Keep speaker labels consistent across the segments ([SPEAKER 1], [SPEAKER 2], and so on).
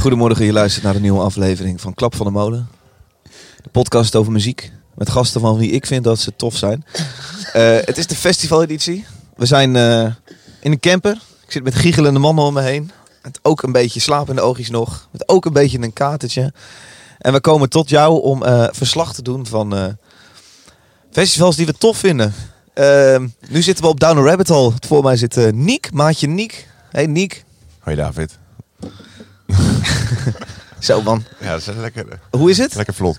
[SPEAKER 1] Goedemorgen, je luistert naar de nieuwe aflevering van Klap van de Molen. De podcast over muziek. Met gasten van wie ik vind dat ze tof zijn. Eh, het is de festivaleditie. We zijn eh, in een camper. Ik zit met giechelende mannen om me heen. Met ook een beetje slaap in de oogjes nog. Met ook een beetje een katertje. En we komen tot jou om eh, verslag te doen van eh, festivals die we tof vinden. Ehm, nu zitten we op Down a Rabbit Hole. Voor mij zit eh, Niek, maatje Niek. Hey Niek.
[SPEAKER 2] Hoi David.
[SPEAKER 1] Zo man,
[SPEAKER 2] Ja, dat is lekker,
[SPEAKER 1] hoe is het?
[SPEAKER 2] lekker vlot.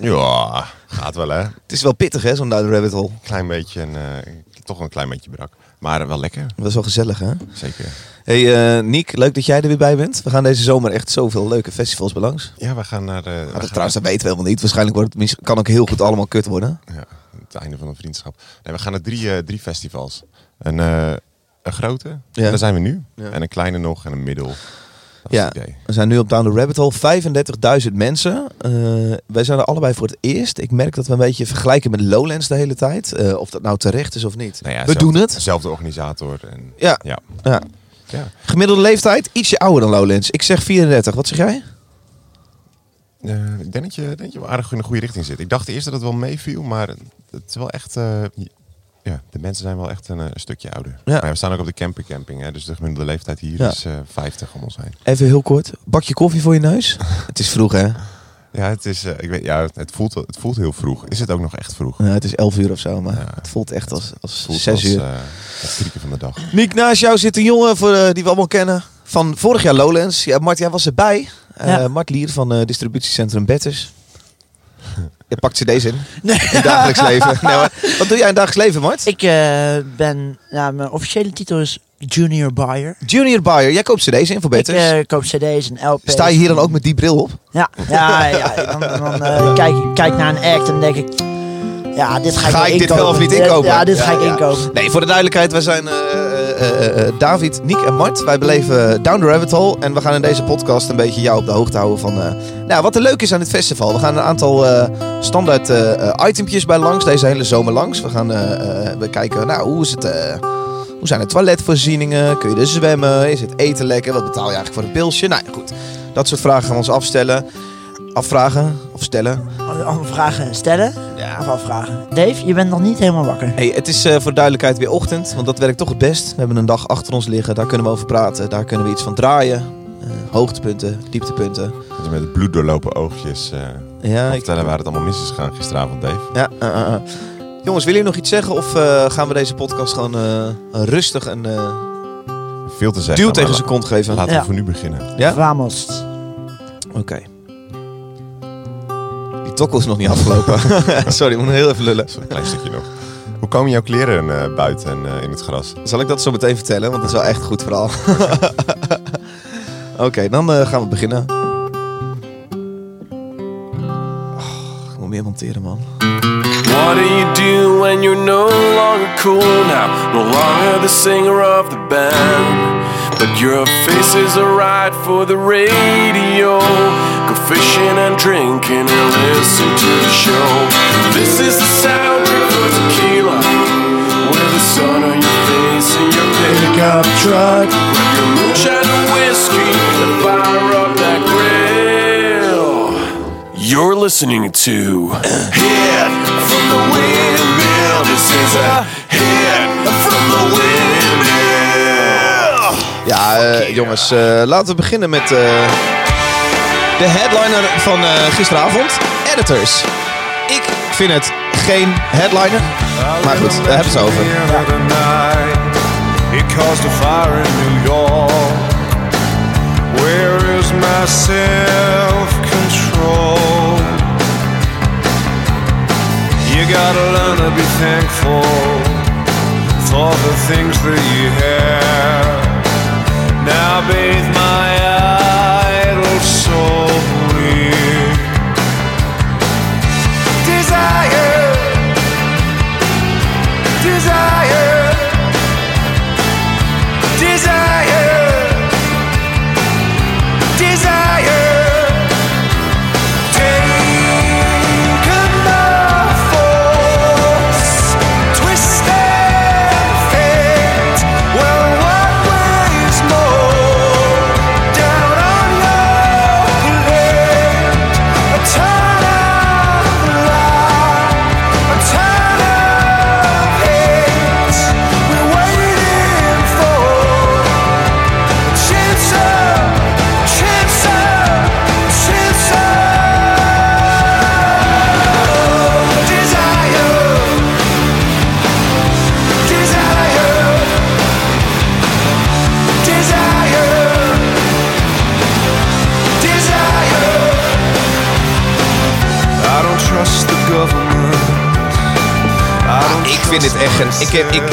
[SPEAKER 2] Ja, gaat wel hè.
[SPEAKER 1] Het is wel pittig, hè, zo'n Down the Rabbit Hole.
[SPEAKER 2] Klein beetje, een, eh, toch een klein beetje brak. Maar eh, wel lekker,
[SPEAKER 1] Dat is wel gezellig, hè?
[SPEAKER 2] zeker.
[SPEAKER 1] hey, eh, Niek, leuk dat jij er weer bij bent. We gaan deze zomer echt zoveel leuke festivals belangs.
[SPEAKER 2] Ja, we gaan naar de, we
[SPEAKER 1] Maar dat,
[SPEAKER 2] gaan-
[SPEAKER 1] trouwens, dat weten we helemaal niet. Waarschijnlijk wordt het, mis- kan ook heel goed allemaal kut worden.
[SPEAKER 2] ja, het einde van een vriendschap. Nee, we gaan naar drie, eh, drie festivals. Een, eh, een grote,
[SPEAKER 1] Ja.
[SPEAKER 2] daar zijn we nu.
[SPEAKER 1] Ja.
[SPEAKER 2] En een kleine nog en een middel. Dat was
[SPEAKER 1] Ja.
[SPEAKER 2] het idee.
[SPEAKER 1] We zijn nu op Down the Rabbit Hole. 35.000 mensen. Eh, wij zijn er allebei voor het eerst. Ik merk dat we een beetje vergelijken met Lowlands de hele tijd. Eh, of dat nou terecht is of niet.
[SPEAKER 2] Nou ja,
[SPEAKER 1] we
[SPEAKER 2] zelf-
[SPEAKER 1] doen het.
[SPEAKER 2] Zelfde organisator. En,
[SPEAKER 1] Ja.
[SPEAKER 2] ja.
[SPEAKER 1] Ja.
[SPEAKER 2] Ja.
[SPEAKER 1] Gemiddelde leeftijd, ietsje ouder dan Lowlands. Ik zeg 34. Wat zeg jij?
[SPEAKER 2] Eh, ik denk dat je, denk je wel aardig in de goede richting zit. Ik dacht eerst dat het wel meeviel, maar het is wel echt. eh, ja, de mensen zijn wel echt een, eh, een stukje ouder.
[SPEAKER 1] Ja.
[SPEAKER 2] Maar we staan ook op de campercamping, hè, dus de gemiddelde leeftijd hier
[SPEAKER 1] Ja.
[SPEAKER 2] is eh 50 om ons heen.
[SPEAKER 1] Even heel kort. Bakje koffie voor je neus. het is vroeg, hè?
[SPEAKER 2] Ja, het, is, eh, ik weet, ja het, voelt, het voelt heel vroeg. Is het ook nog echt vroeg?
[SPEAKER 1] Ja, het is 11 uur of zo, maar
[SPEAKER 2] Ja.
[SPEAKER 1] het voelt echt als, als
[SPEAKER 2] voelt
[SPEAKER 1] 6 uur.
[SPEAKER 2] eh, het krieken van de dag.
[SPEAKER 1] Niek, naast jou zit een jongen voor, eh, die we allemaal kennen. Van vorig jaar Lowlands. Ja, Mart, jij was erbij. Eh
[SPEAKER 3] Ja.
[SPEAKER 1] Mart Lier van eh, distributiecentrum Betters. Je pakt cd's in.
[SPEAKER 3] Nee.
[SPEAKER 1] In het dagelijks leven. Nee, maar, wat doe jij in het dagelijks leven, Mart?
[SPEAKER 3] Ik eh, ben, ja, mijn officiële titel is Junior Buyer.
[SPEAKER 1] Junior buyer. Jij koopt cd's in voor
[SPEAKER 3] Ik
[SPEAKER 1] Betters.
[SPEAKER 3] eh, koop cd's en LP's.
[SPEAKER 1] Sta je hier dan ook met die bril op?
[SPEAKER 3] Ja, ja, ja. Dan, dan eh, kijk ik kijk naar een act en denk ik... Ja, dit ga ik,
[SPEAKER 1] Ga
[SPEAKER 3] wel
[SPEAKER 1] ik dit wel of niet
[SPEAKER 3] Dit-
[SPEAKER 1] inkopen?
[SPEAKER 3] Ja, dit
[SPEAKER 1] Ja,
[SPEAKER 3] ga ik
[SPEAKER 1] ja.
[SPEAKER 3] inkopen.
[SPEAKER 1] Nee, voor de duidelijkheid, wij zijn eh, eh, eh, eh, David, Niek en Mart. Wij beleven Down the Rabbit Hole. En we gaan in deze podcast een beetje jou op de hoogte houden van eh, nou, wat er leuk is aan dit festival. We gaan een aantal eh, standaard eh, eh, itempjes bij langs, deze hele zomer langs. We gaan eh, eh, we kijken, nou, hoe is het... eh, hoe zijn de toiletvoorzieningen? Kun je er zwemmen? Is het eten lekker? Wat betaal je eigenlijk voor een pilsje? Nou ja, goed. Dat soort vragen gaan we ons afstellen. Afvragen of stellen.
[SPEAKER 3] Allemaal vragen stellen
[SPEAKER 1] Ja,
[SPEAKER 3] of afvragen. Dave, je bent nog niet helemaal wakker.
[SPEAKER 1] Hey, het is eh, voor duidelijkheid weer ochtend, want dat werkt toch het best. We hebben een dag achter ons liggen, daar kunnen we over praten, daar kunnen we iets van draaien. Eh, hoogtepunten, dieptepunten.
[SPEAKER 2] Dus met het bloed doorlopen oogjes eh
[SPEAKER 1] Ja, ik,
[SPEAKER 2] vertellen waar het allemaal mis is gegaan gisteravond, Dave.
[SPEAKER 1] ja eh, eh, eh. Jongens, willen jullie nog iets zeggen of eh, gaan we deze podcast gewoon eh, rustig een eh
[SPEAKER 2] Veel te zeggen.
[SPEAKER 1] duw
[SPEAKER 2] maar
[SPEAKER 1] tegen
[SPEAKER 2] la-
[SPEAKER 1] zijn kont geven?
[SPEAKER 2] Laten
[SPEAKER 3] Ja.
[SPEAKER 2] we voor nu beginnen.
[SPEAKER 1] Ja?
[SPEAKER 3] Vamos.
[SPEAKER 1] Oké. Die tokkel is nog niet afgelopen. Sorry, ik moet nog heel even lullen.
[SPEAKER 2] Dat is een klein stukje nog. Hoe komen jouw kleren eh, buiten en eh, in het gras?
[SPEAKER 1] Zal ik dat zo meteen vertellen? Want dat is wel echt een goed verhaal. Oké, dan eh, gaan we beginnen. Oh, ik moet meer monteren, man.
[SPEAKER 4] What do you do when you're no longer cool now? No longer the singer of the band. But your face is alright for the radio. Go fishing and drinking and listen to the show. This is the soundtrack for tequila. With the sun on your face and your pickup truck. Grab your moonshine and whiskey and fire up that grill. You're listening to Hit from the Windmill. This is a hit from the Windmill.
[SPEAKER 1] Ja, eh, jongens, eh, laten we beginnen met eh, de headliner van eh, gisteravond. Editors. Ik vind het geen headliner. Maar goed, daar hebben we het over.
[SPEAKER 5] It caused a fire in New York. Where is my self control? You gotta learn to be thankful for the things that you have. Now bathe my idle soul with desire, desire desire, desire. Taken by force, twisted fate. Well, what weighs more?
[SPEAKER 1] vind dit echt een... Ik, heb- ik,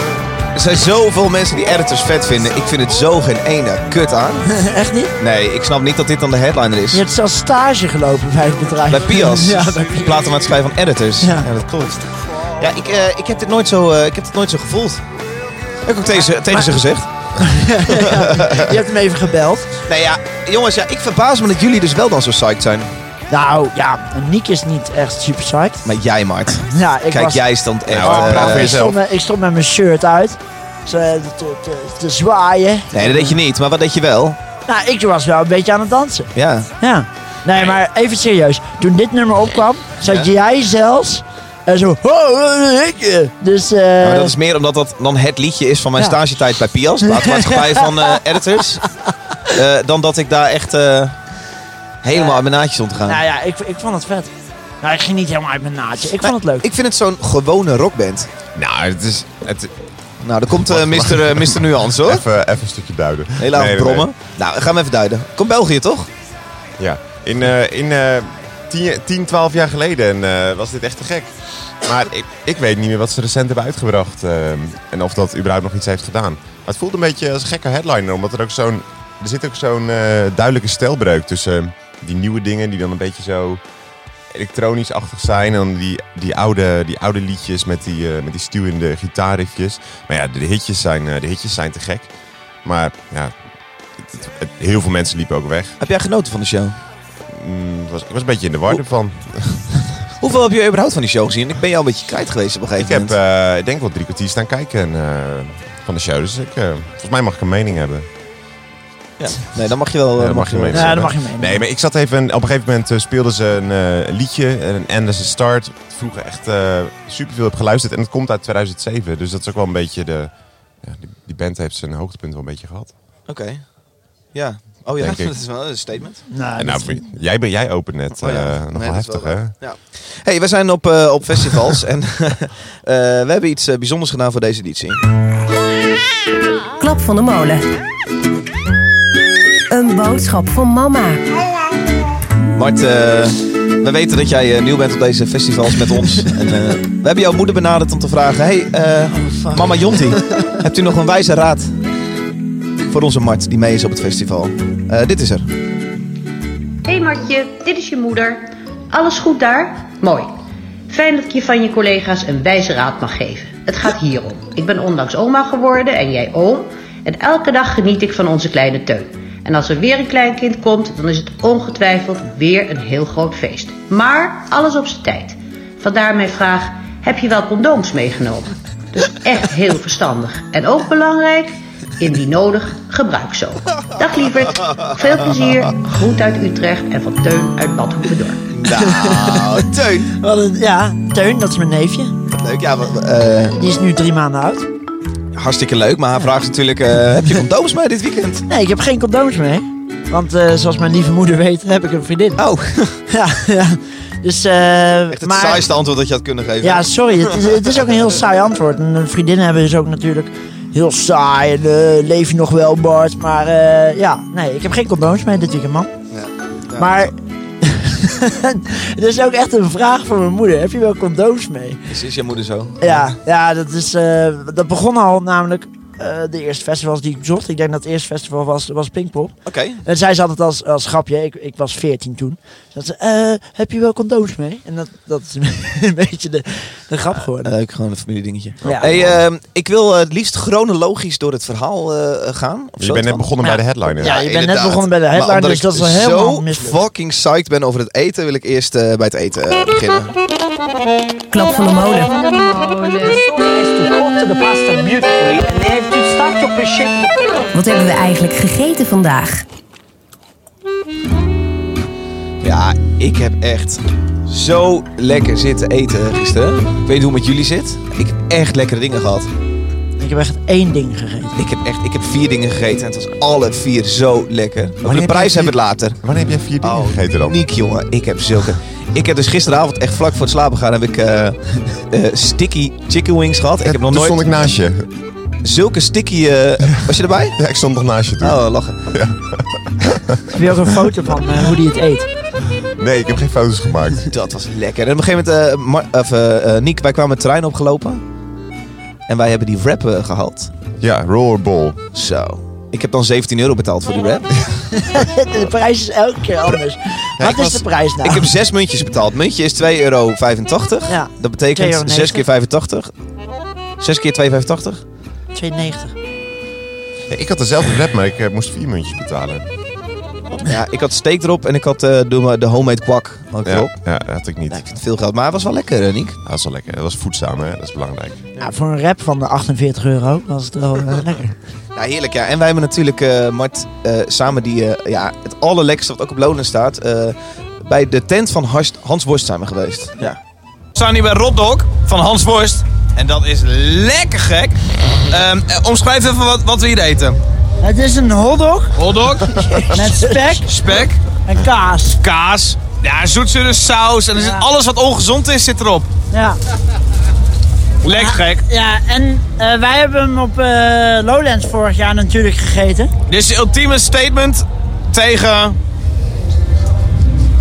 [SPEAKER 1] er zijn zoveel mensen die editors vet vinden. Ik vind het zo geen ene kut aan.
[SPEAKER 3] Echt niet?
[SPEAKER 1] Nee, ik snap niet dat dit dan de headliner is.
[SPEAKER 3] Je hebt zelfs stage gelopen bij het bedrijf.
[SPEAKER 1] Bij Pias.
[SPEAKER 3] Ja, bij
[SPEAKER 1] de
[SPEAKER 3] Pias.
[SPEAKER 1] platenmaatschappij van editors.
[SPEAKER 3] Ja.
[SPEAKER 1] dat klopt. Ja, ik, eh, ik, heb dit nooit zo, eh, ik heb dit nooit zo gevoeld. Heb ik ook tegen, ze- tegen ze gezegd.
[SPEAKER 3] Je hebt hem even gebeld.
[SPEAKER 1] Nee ja, jongens, ja, ik verbaas me dat jullie dus wel dan zo psyched zijn.
[SPEAKER 3] Nou ja, Niek is niet echt super psyched.
[SPEAKER 1] Maar jij, Mart.
[SPEAKER 3] Ja, ik
[SPEAKER 1] Kijk,
[SPEAKER 3] was,
[SPEAKER 1] jij stond echt...
[SPEAKER 2] Nou,
[SPEAKER 1] eh,
[SPEAKER 2] praat weer
[SPEAKER 3] ik,
[SPEAKER 2] eens.
[SPEAKER 3] stond, met- ik stond met mijn shirt uit. Zo, eh, te, te, te zwaaien.
[SPEAKER 1] nee, dat deed je niet. Maar wat deed je wel?
[SPEAKER 3] Nou, ik was wel een beetje aan het dansen.
[SPEAKER 1] Ja.
[SPEAKER 3] Ja. Nee, maar even serieus. Toen dit nummer opkwam, zat
[SPEAKER 1] Ja.
[SPEAKER 3] jij zelfs eh, zo... Oh, eh, ik, eh." Dus... eh,
[SPEAKER 1] Maar dat is meer omdat dat dan het liedje is van mijn
[SPEAKER 3] Ja.
[SPEAKER 1] stagetijd bij Pias, platenmaatschappij van eh, editors. Eh, dan dat ik daar echt eh, helemaal
[SPEAKER 3] Ja.
[SPEAKER 1] uit mijn naadje stond te gaan.
[SPEAKER 3] Nou ja, ik, ik vond het vet. Nou, ik ging niet helemaal uit mijn naadje. Ik vond het leuk.
[SPEAKER 1] Ik vind het zo'n gewone rockband.
[SPEAKER 2] Nou, het is... Het,
[SPEAKER 1] Nou, daar komt eh Mr. eh, Mr. Nuance hoor.
[SPEAKER 2] even, even een stukje duiden.
[SPEAKER 1] Hele avond
[SPEAKER 2] Nee, nee,
[SPEAKER 1] brommen. Nou, gaan we even duiden. Komt België toch?
[SPEAKER 2] nee. Ja. In, eh, in eh, 10, 10, 12 jaar geleden eh, was dit echt te gek. Maar ik, ik weet niet meer wat ze recent hebben uitgebracht. eh, en of dat überhaupt nog iets heeft gedaan. Maar het voelt een beetje als een gekke headliner. Omdat er ook zo'n... Er zit ook zo'n eh, duidelijke stijlbreuk tussen eh, die nieuwe dingen die dan een beetje zo elektronisch-achtig zijn. En dan die, die, oude, die oude liedjes met die, eh, met die stuwende gitaarriffjes. Maar ja, de hitjes zijn, eh, de hitjes zijn te gek. Maar ja, het- het- het- heel veel mensen liepen ook weg.
[SPEAKER 1] Heb jij genoten van de show?
[SPEAKER 2] Mm, ik was, ik was een beetje in de war ervan.
[SPEAKER 1] Hoeveel heb je überhaupt van die show gezien? Ik ben jou een beetje kwijt geweest op een
[SPEAKER 2] Ik
[SPEAKER 1] gegeven
[SPEAKER 2] heb,
[SPEAKER 1] moment.
[SPEAKER 2] eh, ik denk wel drie kwartier staan kijken eh, van de show. Dus ik, eh, volgens mij mag ik een mening hebben.
[SPEAKER 1] Ja. Nee, dan mag je wel. eh,
[SPEAKER 2] Ja, dan mag je
[SPEAKER 1] wel.
[SPEAKER 2] mee.
[SPEAKER 3] Ja, daar mag je mee.
[SPEAKER 2] Nee, maar ik zat even... Op een gegeven moment eh, speelden ze een eh, liedje, een Anderson Start. Vroeger echt eh superveel heb geluisterd. En het komt uit 2007. Dus dat is ook wel een beetje de... Ja, die, die band heeft zijn hoogtepunt wel een beetje gehad.
[SPEAKER 1] Oké. Ja. Oh ja,
[SPEAKER 2] Denk ik.
[SPEAKER 1] dat is wel een statement.
[SPEAKER 3] Nou,
[SPEAKER 2] en nou,
[SPEAKER 3] dat-
[SPEAKER 2] jij, ben- jij opent net.
[SPEAKER 1] Oh ja.
[SPEAKER 2] eh,
[SPEAKER 1] Nee,
[SPEAKER 2] nogal
[SPEAKER 1] dat is
[SPEAKER 2] heftig,
[SPEAKER 1] wel
[SPEAKER 2] hè?
[SPEAKER 1] waar. Ja. Hey, we zijn op, eh, op festivals en eh, we hebben iets eh, bijzonders gedaan voor deze editie.
[SPEAKER 6] Klap van de molen. Een boodschap van mama.
[SPEAKER 1] Mart, eh, we weten dat jij eh, nieuw bent op deze festivals met ons. En, eh, we hebben jouw moeder benaderd om te vragen: Hey, eh,
[SPEAKER 3] fuck.
[SPEAKER 1] mama Jonti, hebt u nog een wijze raad voor onze Mart die mee is op het festival? Eh, dit is er.
[SPEAKER 7] Hey Martje, dit is je moeder. Alles goed daar? Mooi. Fijn dat ik je van je collega's een wijze raad mag geven. Het gaat hierom. Ik ben onlangs oma geworden en jij oom. En elke dag geniet ik van onze kleine teun. En als er weer een kleinkind komt, dan is het ongetwijfeld weer een heel groot feest. Maar alles op zijn tijd. Vandaar mijn vraag: heb je wel condooms meegenomen? Dus echt heel verstandig. En ook belangrijk, indien nodig, gebruik ze ook. Dag lieverd, veel plezier. Groet uit Utrecht en van Teun uit Badhoevedorp.
[SPEAKER 1] Nou, Teun.
[SPEAKER 3] Wat een, ja, Teun, dat is mijn neefje.
[SPEAKER 1] Leuk, ja, maar, eh,
[SPEAKER 3] Die is nu drie maanden oud.
[SPEAKER 1] hartstikke leuk. Maar haar vraag is natuurlijk: eh, Heb je condooms mee dit weekend?
[SPEAKER 3] Nee, ik heb geen condooms mee. Want eh, zoals mijn lieve moeder weet, heb ik een vriendin.
[SPEAKER 1] Oh,
[SPEAKER 3] Ja, ja. Dus, eh
[SPEAKER 1] echt het
[SPEAKER 3] maar,
[SPEAKER 1] saaiste antwoord dat je had kunnen geven.
[SPEAKER 3] Ja, sorry. Het is, het is ook een heel saai antwoord. En eh, vriendinnen hebben dus ook natuurlijk heel saai. En, eh, leef je nog wel, Bart? Maar eh, ja, nee, ik heb geen condooms mee dit weekend, man.
[SPEAKER 1] Ja. Ja.
[SPEAKER 3] Maar... Het Nou, is ook echt een vraag voor mijn moeder. Heb je wel condooms mee?
[SPEAKER 1] Is, is je moeder zo?
[SPEAKER 3] Ja, ja dat, is, eh, dat begon al namelijk eh, de eerste festivals die ik bezocht. Ik denk dat het eerste festival was, was Pinkpop.
[SPEAKER 1] Oké.
[SPEAKER 3] En zij ze altijd als, als grapje, ik, ik was 14 toen. Dat ze, eh, heb je wel condooms mee? En dat, dat is een beetje de, de grap geworden.
[SPEAKER 1] Leuk, gewoon een familiedingetje.
[SPEAKER 3] Ja.
[SPEAKER 1] Hey, ehm, ik wil eh, het liefst chronologisch door het verhaal eh, gaan. Of
[SPEAKER 2] Je
[SPEAKER 1] zo,
[SPEAKER 2] bent net
[SPEAKER 1] Twan?
[SPEAKER 2] begonnen
[SPEAKER 3] Ja.
[SPEAKER 2] bij de headliner.
[SPEAKER 3] Ja, je bent net
[SPEAKER 1] inderdaad.
[SPEAKER 3] begonnen bij de
[SPEAKER 1] Maar
[SPEAKER 3] headline,
[SPEAKER 1] omdat
[SPEAKER 3] dus
[SPEAKER 1] ik
[SPEAKER 3] dat is helemaal
[SPEAKER 1] zo
[SPEAKER 3] mislukt.
[SPEAKER 1] fucking psyched ben over het eten, wil ik eerst eh, bij het eten eh, beginnen.
[SPEAKER 6] Klap van de molen. Wat hebben we eigenlijk gegeten vandaag?
[SPEAKER 1] Ja, ik heb echt zo lekker zitten eten gisteren. Ik weet niet hoe het met jullie zit. Ik heb echt lekkere dingen gehad.
[SPEAKER 3] Ik heb echt één ding gegeten.
[SPEAKER 1] Ik heb, echt, ik heb vier dingen gegeten en het was alle vier zo lekker. Over de
[SPEAKER 2] heb
[SPEAKER 1] prijs
[SPEAKER 2] je
[SPEAKER 1] hebben we het later.
[SPEAKER 2] Wanneer heb jij vier
[SPEAKER 3] Oh,
[SPEAKER 1] Oh,
[SPEAKER 2] dingen gegeten dan?
[SPEAKER 1] Niek, jongen. Ik heb zulke... Ik heb dus gisteravond echt vlak voor het slapen gaan, heb ik eh, eh, sticky chicken wings gehad. Ik heb nog
[SPEAKER 2] Toen stond
[SPEAKER 1] nooit
[SPEAKER 2] ik naast je.
[SPEAKER 1] zulke sticky... eh, was je erbij?
[SPEAKER 2] Ja, ik stond nog naast je toen.
[SPEAKER 1] Oh, lachen.
[SPEAKER 3] Ik wil ook een foto van eh, hoe die het eet.
[SPEAKER 2] Nee, ik heb geen foto's gemaakt.
[SPEAKER 1] Dat was lekker. En op een gegeven moment, eh, Mar- of, eh, eh, Niek, wij kwamen het terrein opgelopen. En wij hebben die wrap eh, gehaald.
[SPEAKER 2] Ja, rollerball.
[SPEAKER 1] Zo. Ik heb dan 17 euro betaald voor die wrap.
[SPEAKER 3] De prijs is elke keer anders. Wat
[SPEAKER 1] ik
[SPEAKER 3] is
[SPEAKER 1] was-
[SPEAKER 3] de prijs nou?
[SPEAKER 1] Ik heb zes muntjes betaald. Muntje is 2,85 euro.
[SPEAKER 3] Ja.
[SPEAKER 1] Dat betekent
[SPEAKER 3] 2,90.
[SPEAKER 1] 6 keer 85. 6 keer 2,85.
[SPEAKER 3] 2,90.
[SPEAKER 2] Ja, ik had dezelfde rap, maar ik eh, moest vier muntjes betalen.
[SPEAKER 1] Ja, ik had steak erop en ik had eh, doe maar de homemade kwak had ik
[SPEAKER 2] Ja,
[SPEAKER 1] erop.
[SPEAKER 2] ja, dat had ik niet.
[SPEAKER 1] Ja, ik vind het veel geld, maar het was wel lekker, eh, Niek.
[SPEAKER 2] Dat was wel lekker. Dat was voedzaam, hè? Dat is belangrijk.
[SPEAKER 3] Nou, voor een rap van de 48 euro was het wel eh, lekker.
[SPEAKER 1] Ja, heerlijk, ja. En wij hebben natuurlijk, eh, Mart, eh, samen die, eh, ja, het allerlekkerste wat ook op Lonen staat... eh, bij de tent van Hans, Hans Worst zijn we geweest. Ja. We staan hier bij Robdog van Hans Worst. En dat is lekker gek.
[SPEAKER 8] Ehm, eh,
[SPEAKER 1] omschrijf even wat, wat we hier eten.
[SPEAKER 3] Het is een hotdog
[SPEAKER 8] Hotdog,
[SPEAKER 3] met spek
[SPEAKER 8] spek,
[SPEAKER 3] en kaas.
[SPEAKER 8] kaas. Ja, zoetzure saus. En er zit
[SPEAKER 3] Ja.
[SPEAKER 8] alles wat ongezond is, zit erop.
[SPEAKER 3] Ja,
[SPEAKER 8] Lekker gek.
[SPEAKER 3] ja en eh, wij hebben hem op eh, Lowlands vorig jaar natuurlijk gegeten.
[SPEAKER 8] Dit is de ultieme statement tegen...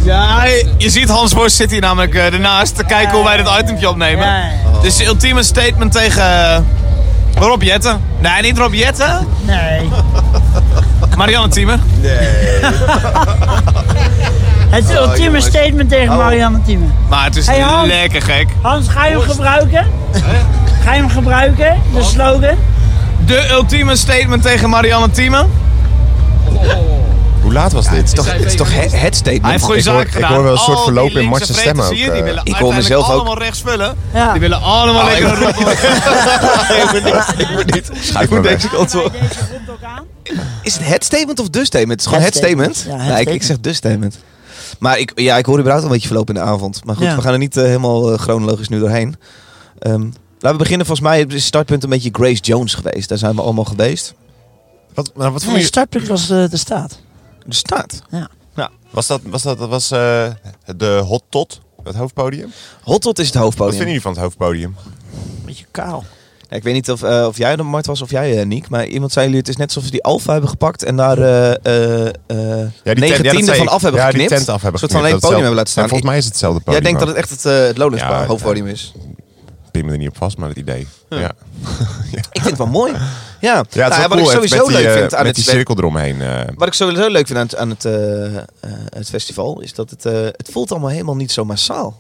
[SPEAKER 8] Ja, je- je ziet Hans Borst zit hier namelijk eh, ernaast te kijken hoe wij dit itempje opnemen.
[SPEAKER 3] Ja, ja.
[SPEAKER 8] Dit is de ultieme statement tegen... eh, Rob Jetten. Nee, niet Rob Jetten.
[SPEAKER 3] Nee.
[SPEAKER 8] Marianne Thieme.
[SPEAKER 3] Het is ultieme statement tegen Marianne Thieme.
[SPEAKER 8] Maar het is
[SPEAKER 3] Hey, Hans.
[SPEAKER 8] lekker gek.
[SPEAKER 3] Hans, ga je hem gebruiken? Ga je hem gebruiken, de slogan?
[SPEAKER 8] De ultieme statement tegen Marianne Thieme.
[SPEAKER 2] Hoe laat was dit?
[SPEAKER 1] Toch, het is toch he- het statement?
[SPEAKER 8] Hij heeft goede
[SPEAKER 2] Ik hoor-
[SPEAKER 8] zaken
[SPEAKER 2] ik
[SPEAKER 8] gedaan.
[SPEAKER 2] hoor wel een soort
[SPEAKER 8] Al die
[SPEAKER 2] verloop in
[SPEAKER 8] linkse
[SPEAKER 2] Martse
[SPEAKER 8] vreters
[SPEAKER 2] stemmen ook,
[SPEAKER 8] hier, die
[SPEAKER 2] eh.
[SPEAKER 8] willen
[SPEAKER 1] Ik hoor
[SPEAKER 8] uiteindelijk
[SPEAKER 1] mezelf ook.
[SPEAKER 8] allemaal rechts vullen.
[SPEAKER 3] Ja.
[SPEAKER 8] Die willen
[SPEAKER 2] Ah,
[SPEAKER 8] allemaal
[SPEAKER 1] ik-
[SPEAKER 8] lekker roepen.
[SPEAKER 2] Schuif maar weg.
[SPEAKER 1] kant op.
[SPEAKER 3] Deze komt ook aan.
[SPEAKER 1] Is het het statement of de statement? Het is gewoon het
[SPEAKER 3] Het
[SPEAKER 1] statement.
[SPEAKER 3] statement. Ja, het
[SPEAKER 1] Nee, ik, ik
[SPEAKER 3] statement.
[SPEAKER 1] zeg de statement. Maar ik, ja, ik hoor überhaupt een beetje verloop in de avond. Maar goed,
[SPEAKER 3] Ja.
[SPEAKER 1] we gaan er niet eh, helemaal eh, chronologisch nu doorheen. Ehm, laten we beginnen. Volgens mij is het startpunt een beetje Grace Jones geweest. Daar zijn we allemaal geweest.
[SPEAKER 2] Wat, maar wat vond
[SPEAKER 3] Nee,
[SPEAKER 2] je...
[SPEAKER 3] startpunt was eh, de staat.
[SPEAKER 1] De staat.
[SPEAKER 2] Was dat, was dat, dat was eh, de hot tot? Het hoofdpodium?
[SPEAKER 1] Hot Tot is het
[SPEAKER 2] Wat
[SPEAKER 1] hoofdpodium.
[SPEAKER 2] vinden jullie van het hoofdpodium?
[SPEAKER 3] Beetje kaal.
[SPEAKER 1] Ja, ik weet niet of, eh, of jij er Mart was of jij, eh, Niek. Maar iemand zei jullie, het is net alsof ze die alfa hebben gepakt. En daar eh eh eh
[SPEAKER 2] Ja, die tent- ja, dat
[SPEAKER 1] 19e
[SPEAKER 2] zei
[SPEAKER 1] van
[SPEAKER 2] ik.
[SPEAKER 1] af hebben
[SPEAKER 2] ja,
[SPEAKER 1] geknipt.
[SPEAKER 2] die tent af hebben
[SPEAKER 1] Een soort van
[SPEAKER 2] geknipt.
[SPEAKER 1] alleen
[SPEAKER 2] Dat
[SPEAKER 1] podium
[SPEAKER 2] is
[SPEAKER 1] hebben
[SPEAKER 2] hetzelfde-
[SPEAKER 1] laten staan.
[SPEAKER 2] Ja, volgens mij is het hetzelfde
[SPEAKER 1] jij
[SPEAKER 2] podium.
[SPEAKER 1] denkt dat
[SPEAKER 2] ook.
[SPEAKER 1] het echt het, eh, het Lowlands
[SPEAKER 2] Ja,
[SPEAKER 1] hoofdpodium is.
[SPEAKER 2] Ik pin me er niet op vast, maar het idee. Ja, ja.
[SPEAKER 1] Ik vind het wel mooi. Nou, Ja,
[SPEAKER 2] ja het is
[SPEAKER 1] Nou,
[SPEAKER 2] wel
[SPEAKER 1] wat
[SPEAKER 2] cool.
[SPEAKER 1] ik
[SPEAKER 2] hè,
[SPEAKER 1] sowieso
[SPEAKER 2] met die,
[SPEAKER 1] leuk
[SPEAKER 2] eh,
[SPEAKER 1] vind aan
[SPEAKER 2] met
[SPEAKER 1] het
[SPEAKER 2] die
[SPEAKER 1] fe-
[SPEAKER 2] cirkel eromheen. eh,
[SPEAKER 1] Wat ik sowieso leuk vind aan het, aan het, eh, eh, het festival is dat het, eh, het voelt allemaal helemaal niet zo massaal.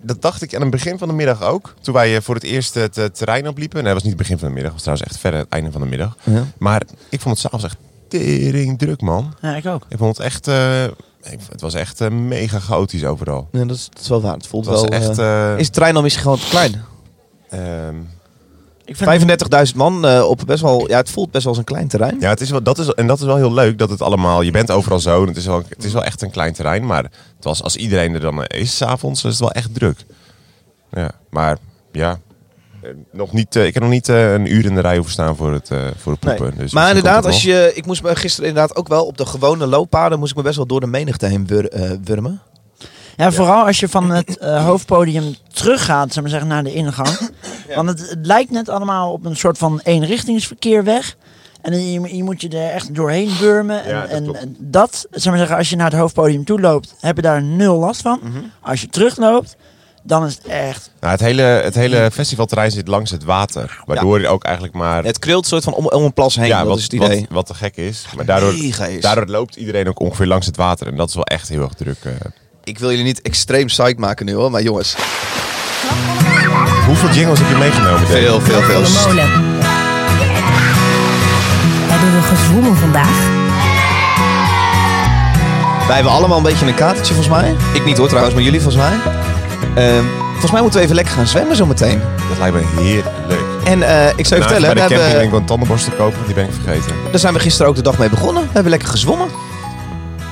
[SPEAKER 2] Dat dacht ik aan het begin van de middag ook. Toen wij eh, voor het eerst het eh, terrein opliepen. Nee, dat was niet het begin van de middag. Dat was trouwens echt verder het einde van de middag.
[SPEAKER 1] Ja.
[SPEAKER 2] Maar ik vond het s'avonds echt tering druk, man.
[SPEAKER 3] Ja, ik ook.
[SPEAKER 2] Ik vond het echt... eh, ik- het was echt eh, mega chaotisch overal.
[SPEAKER 1] Ja, dat, is, dat is wel waar. Het voelt
[SPEAKER 2] Het was
[SPEAKER 1] wel.
[SPEAKER 2] echt...
[SPEAKER 1] eh,
[SPEAKER 2] eh,
[SPEAKER 1] is de trein dan misschien gewoon te klein?
[SPEAKER 2] ehm,
[SPEAKER 3] Ik vind
[SPEAKER 1] 35.000 man eh, op best wel. Ja, het voelt best wel als een klein terrein.
[SPEAKER 2] ja, het is wel, dat is, en dat is wel heel leuk dat het allemaal... Je bent overal zo. En het, is wel, het is wel echt een klein terrein. Maar het was, als iedereen er dan eh, is s'avonds, is het wel echt druk. Ja, maar ja... eh, Nog niet, eh, ik heb nog niet eh, een uur in de rij hoeven staan voor het, eh, voor het
[SPEAKER 1] Nee.
[SPEAKER 2] poepen. Dus
[SPEAKER 1] maar
[SPEAKER 2] misschien komt
[SPEAKER 1] inderdaad,
[SPEAKER 2] het
[SPEAKER 1] als
[SPEAKER 2] nog.
[SPEAKER 1] je, ik moest me gisteren inderdaad ook wel op de gewone looppaden moest ik me best wel door de menigte heen wur- eh, wurmen.
[SPEAKER 3] Ja, vooral als je van het eh, hoofdpodium teruggaat, zeg maar zeggen, naar de ingang. Want het, het lijkt net allemaal op een soort van eenrichtingsverkeer weg. En je, je moet je er echt doorheen wurmen. En,
[SPEAKER 2] Ja, dat
[SPEAKER 3] en,
[SPEAKER 2] klopt.
[SPEAKER 3] en dat, zeg maar zeggen, als je naar het hoofdpodium toe loopt, heb je daar nul last van. Als je terugloopt, dan is het echt...
[SPEAKER 2] Nou, het hele, het hele
[SPEAKER 1] Mm.
[SPEAKER 2] festivalterrein zit langs het water. Waardoor je ook eigenlijk maar...
[SPEAKER 1] Het krilt soort van om, om een plas heen.
[SPEAKER 2] ja,
[SPEAKER 1] dat
[SPEAKER 2] wat,
[SPEAKER 1] is het idee.
[SPEAKER 2] Wat, wat te gek is. Maar daardoor,
[SPEAKER 1] mega is.
[SPEAKER 2] daardoor loopt iedereen ook ongeveer langs het water. En dat is wel echt heel erg druk. eh.
[SPEAKER 1] Ik wil jullie niet extreem psyched maken nu hoor, maar jongens,
[SPEAKER 2] Hoeveel jingles heb je meegenomen? Dave?
[SPEAKER 1] veel, veel, veel.
[SPEAKER 6] Van de molen. Hebben we gezwommen vandaag?
[SPEAKER 1] Wij hebben allemaal een beetje een katertje volgens mij. Ik niet hoor trouwens, maar jullie volgens mij. Ehm, volgens mij moeten we even lekker gaan zwemmen zometeen.
[SPEAKER 2] Dat lijkt me heerlijk.
[SPEAKER 1] En eh, ik zou je
[SPEAKER 2] Daarnaast
[SPEAKER 1] vertellen, we
[SPEAKER 2] bij de camping ben ik
[SPEAKER 1] hebben,
[SPEAKER 2] wel een tandenborstel kopen. want Die ben ik vergeten.
[SPEAKER 1] daar zijn we gisteren ook de dag mee begonnen. We hebben lekker gezwommen.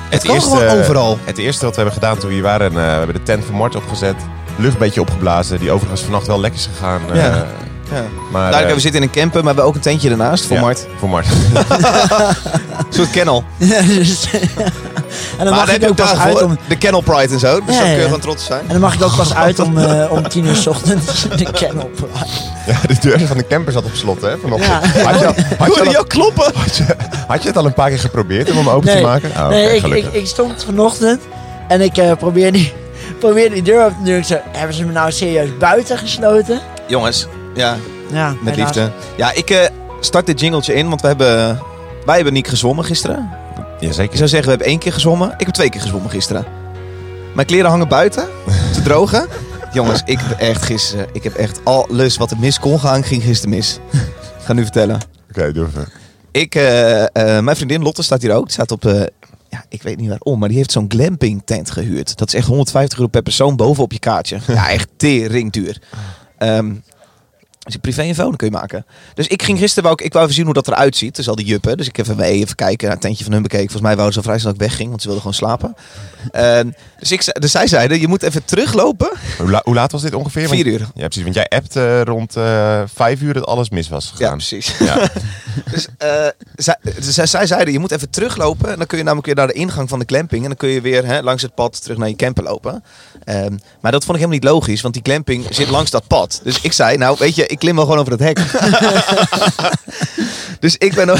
[SPEAKER 1] Het kan gewoon overal.
[SPEAKER 2] Het eerste wat we hebben gedaan toen we hier waren. eh, we hebben de tent van Mart opgezet. Lucht een beetje opgeblazen. Die overigens vannacht wel lek is gegaan. eh,
[SPEAKER 1] Ja. Ja.
[SPEAKER 2] Maar,
[SPEAKER 1] Duidelijk,
[SPEAKER 2] eh,
[SPEAKER 1] we zitten in een camper, maar we hebben ook een tentje ernaast voor
[SPEAKER 2] ja,
[SPEAKER 1] Mart.
[SPEAKER 2] Voor Mart.
[SPEAKER 1] Een soort kennel.
[SPEAKER 3] Dus- en dan
[SPEAKER 1] Maar daar
[SPEAKER 3] mag
[SPEAKER 1] heb
[SPEAKER 3] ik
[SPEAKER 1] je
[SPEAKER 3] ook
[SPEAKER 1] ook
[SPEAKER 3] pas
[SPEAKER 1] dagen
[SPEAKER 3] uit
[SPEAKER 1] voor.
[SPEAKER 3] om...
[SPEAKER 1] De kennel pride en zo. Dus
[SPEAKER 3] Ja,
[SPEAKER 1] daar kun je
[SPEAKER 3] ja.
[SPEAKER 1] gewoon trots op zijn.
[SPEAKER 3] En dan mag ik ook pas uit om, eh, om tien uur 's ochtends de kennel.
[SPEAKER 1] Oh,
[SPEAKER 2] ja, de deur van de camper zat op slot hè, vanochtend.
[SPEAKER 3] Ja.
[SPEAKER 2] Had je, al- had je al
[SPEAKER 1] Hoorde je ook kloppen?
[SPEAKER 2] Had je, had je het al een paar keer geprobeerd om hem open te maken? Ah, oké,
[SPEAKER 3] nee ik, ik,
[SPEAKER 2] gelukkig.
[SPEAKER 3] ik stond vanochtend en ik eh, probeer, die, probeer die deur op te doen. Ik zei, hebben ze me nou serieus buiten gesloten?
[SPEAKER 1] Jongens, ja.
[SPEAKER 3] Ja,
[SPEAKER 1] Met
[SPEAKER 3] helaas.
[SPEAKER 1] liefde. Ja, ik eh, start dit jingletje in, want we hebben, wij hebben niet gezongen gisteren. Ik
[SPEAKER 2] Jazeker.
[SPEAKER 1] zou zeggen, we hebben één keer gezongen. Ik heb twee keer gezongen gisteren. Mijn kleren hangen buiten, te drogen. Jongens, ik heb echt gisteren, ik heb echt alles wat er mis kon gaan, ging gisteren mis. Ik ga nu vertellen.
[SPEAKER 2] Oké, doe even.
[SPEAKER 1] Ik, eh, eh, mijn vriendin Lotte staat hier ook. Die staat op, eh, ja, ik weet niet waarom, maar die heeft zo'n glamping tent gehuurd. Dat is echt 150 euro per persoon bovenop je kaartje. Ja, echt tering duur. Ehm dus een privé info, dan kun je maken. Dus ik ging gisteren, wou ik, ik wou even zien hoe dat eruit ziet. Dus al die juppen. Dus ik heb even mee, even kijken. Naar het tentje van hun bekeken. Volgens mij wouden ze al vrij snel dat ik wegging, want ze wilden gewoon slapen. Ehm, dus, ik, ze- dus zij zeiden, je moet even teruglopen.
[SPEAKER 2] Hoe, la- hoe laat was dit ongeveer? Want-
[SPEAKER 1] Vier uur.
[SPEAKER 2] Ja, precies. Want jij appt eh, rond eh, vijf uur dat alles mis was
[SPEAKER 1] Ja,
[SPEAKER 2] gegaan.
[SPEAKER 1] precies.
[SPEAKER 2] Ja.
[SPEAKER 1] dus, eh, zij, dus zij- zij zeiden, je moet even teruglopen. En dan kun je namelijk weer naar de ingang van de glamping. En dan kun je weer hè, langs het pad terug naar je camper lopen. Ehm, maar dat vond ik helemaal niet logisch, want die glamping zit langs dat pad. Dus ik zei, nou weet je, ik klim wel gewoon over het hek. dus ik ben...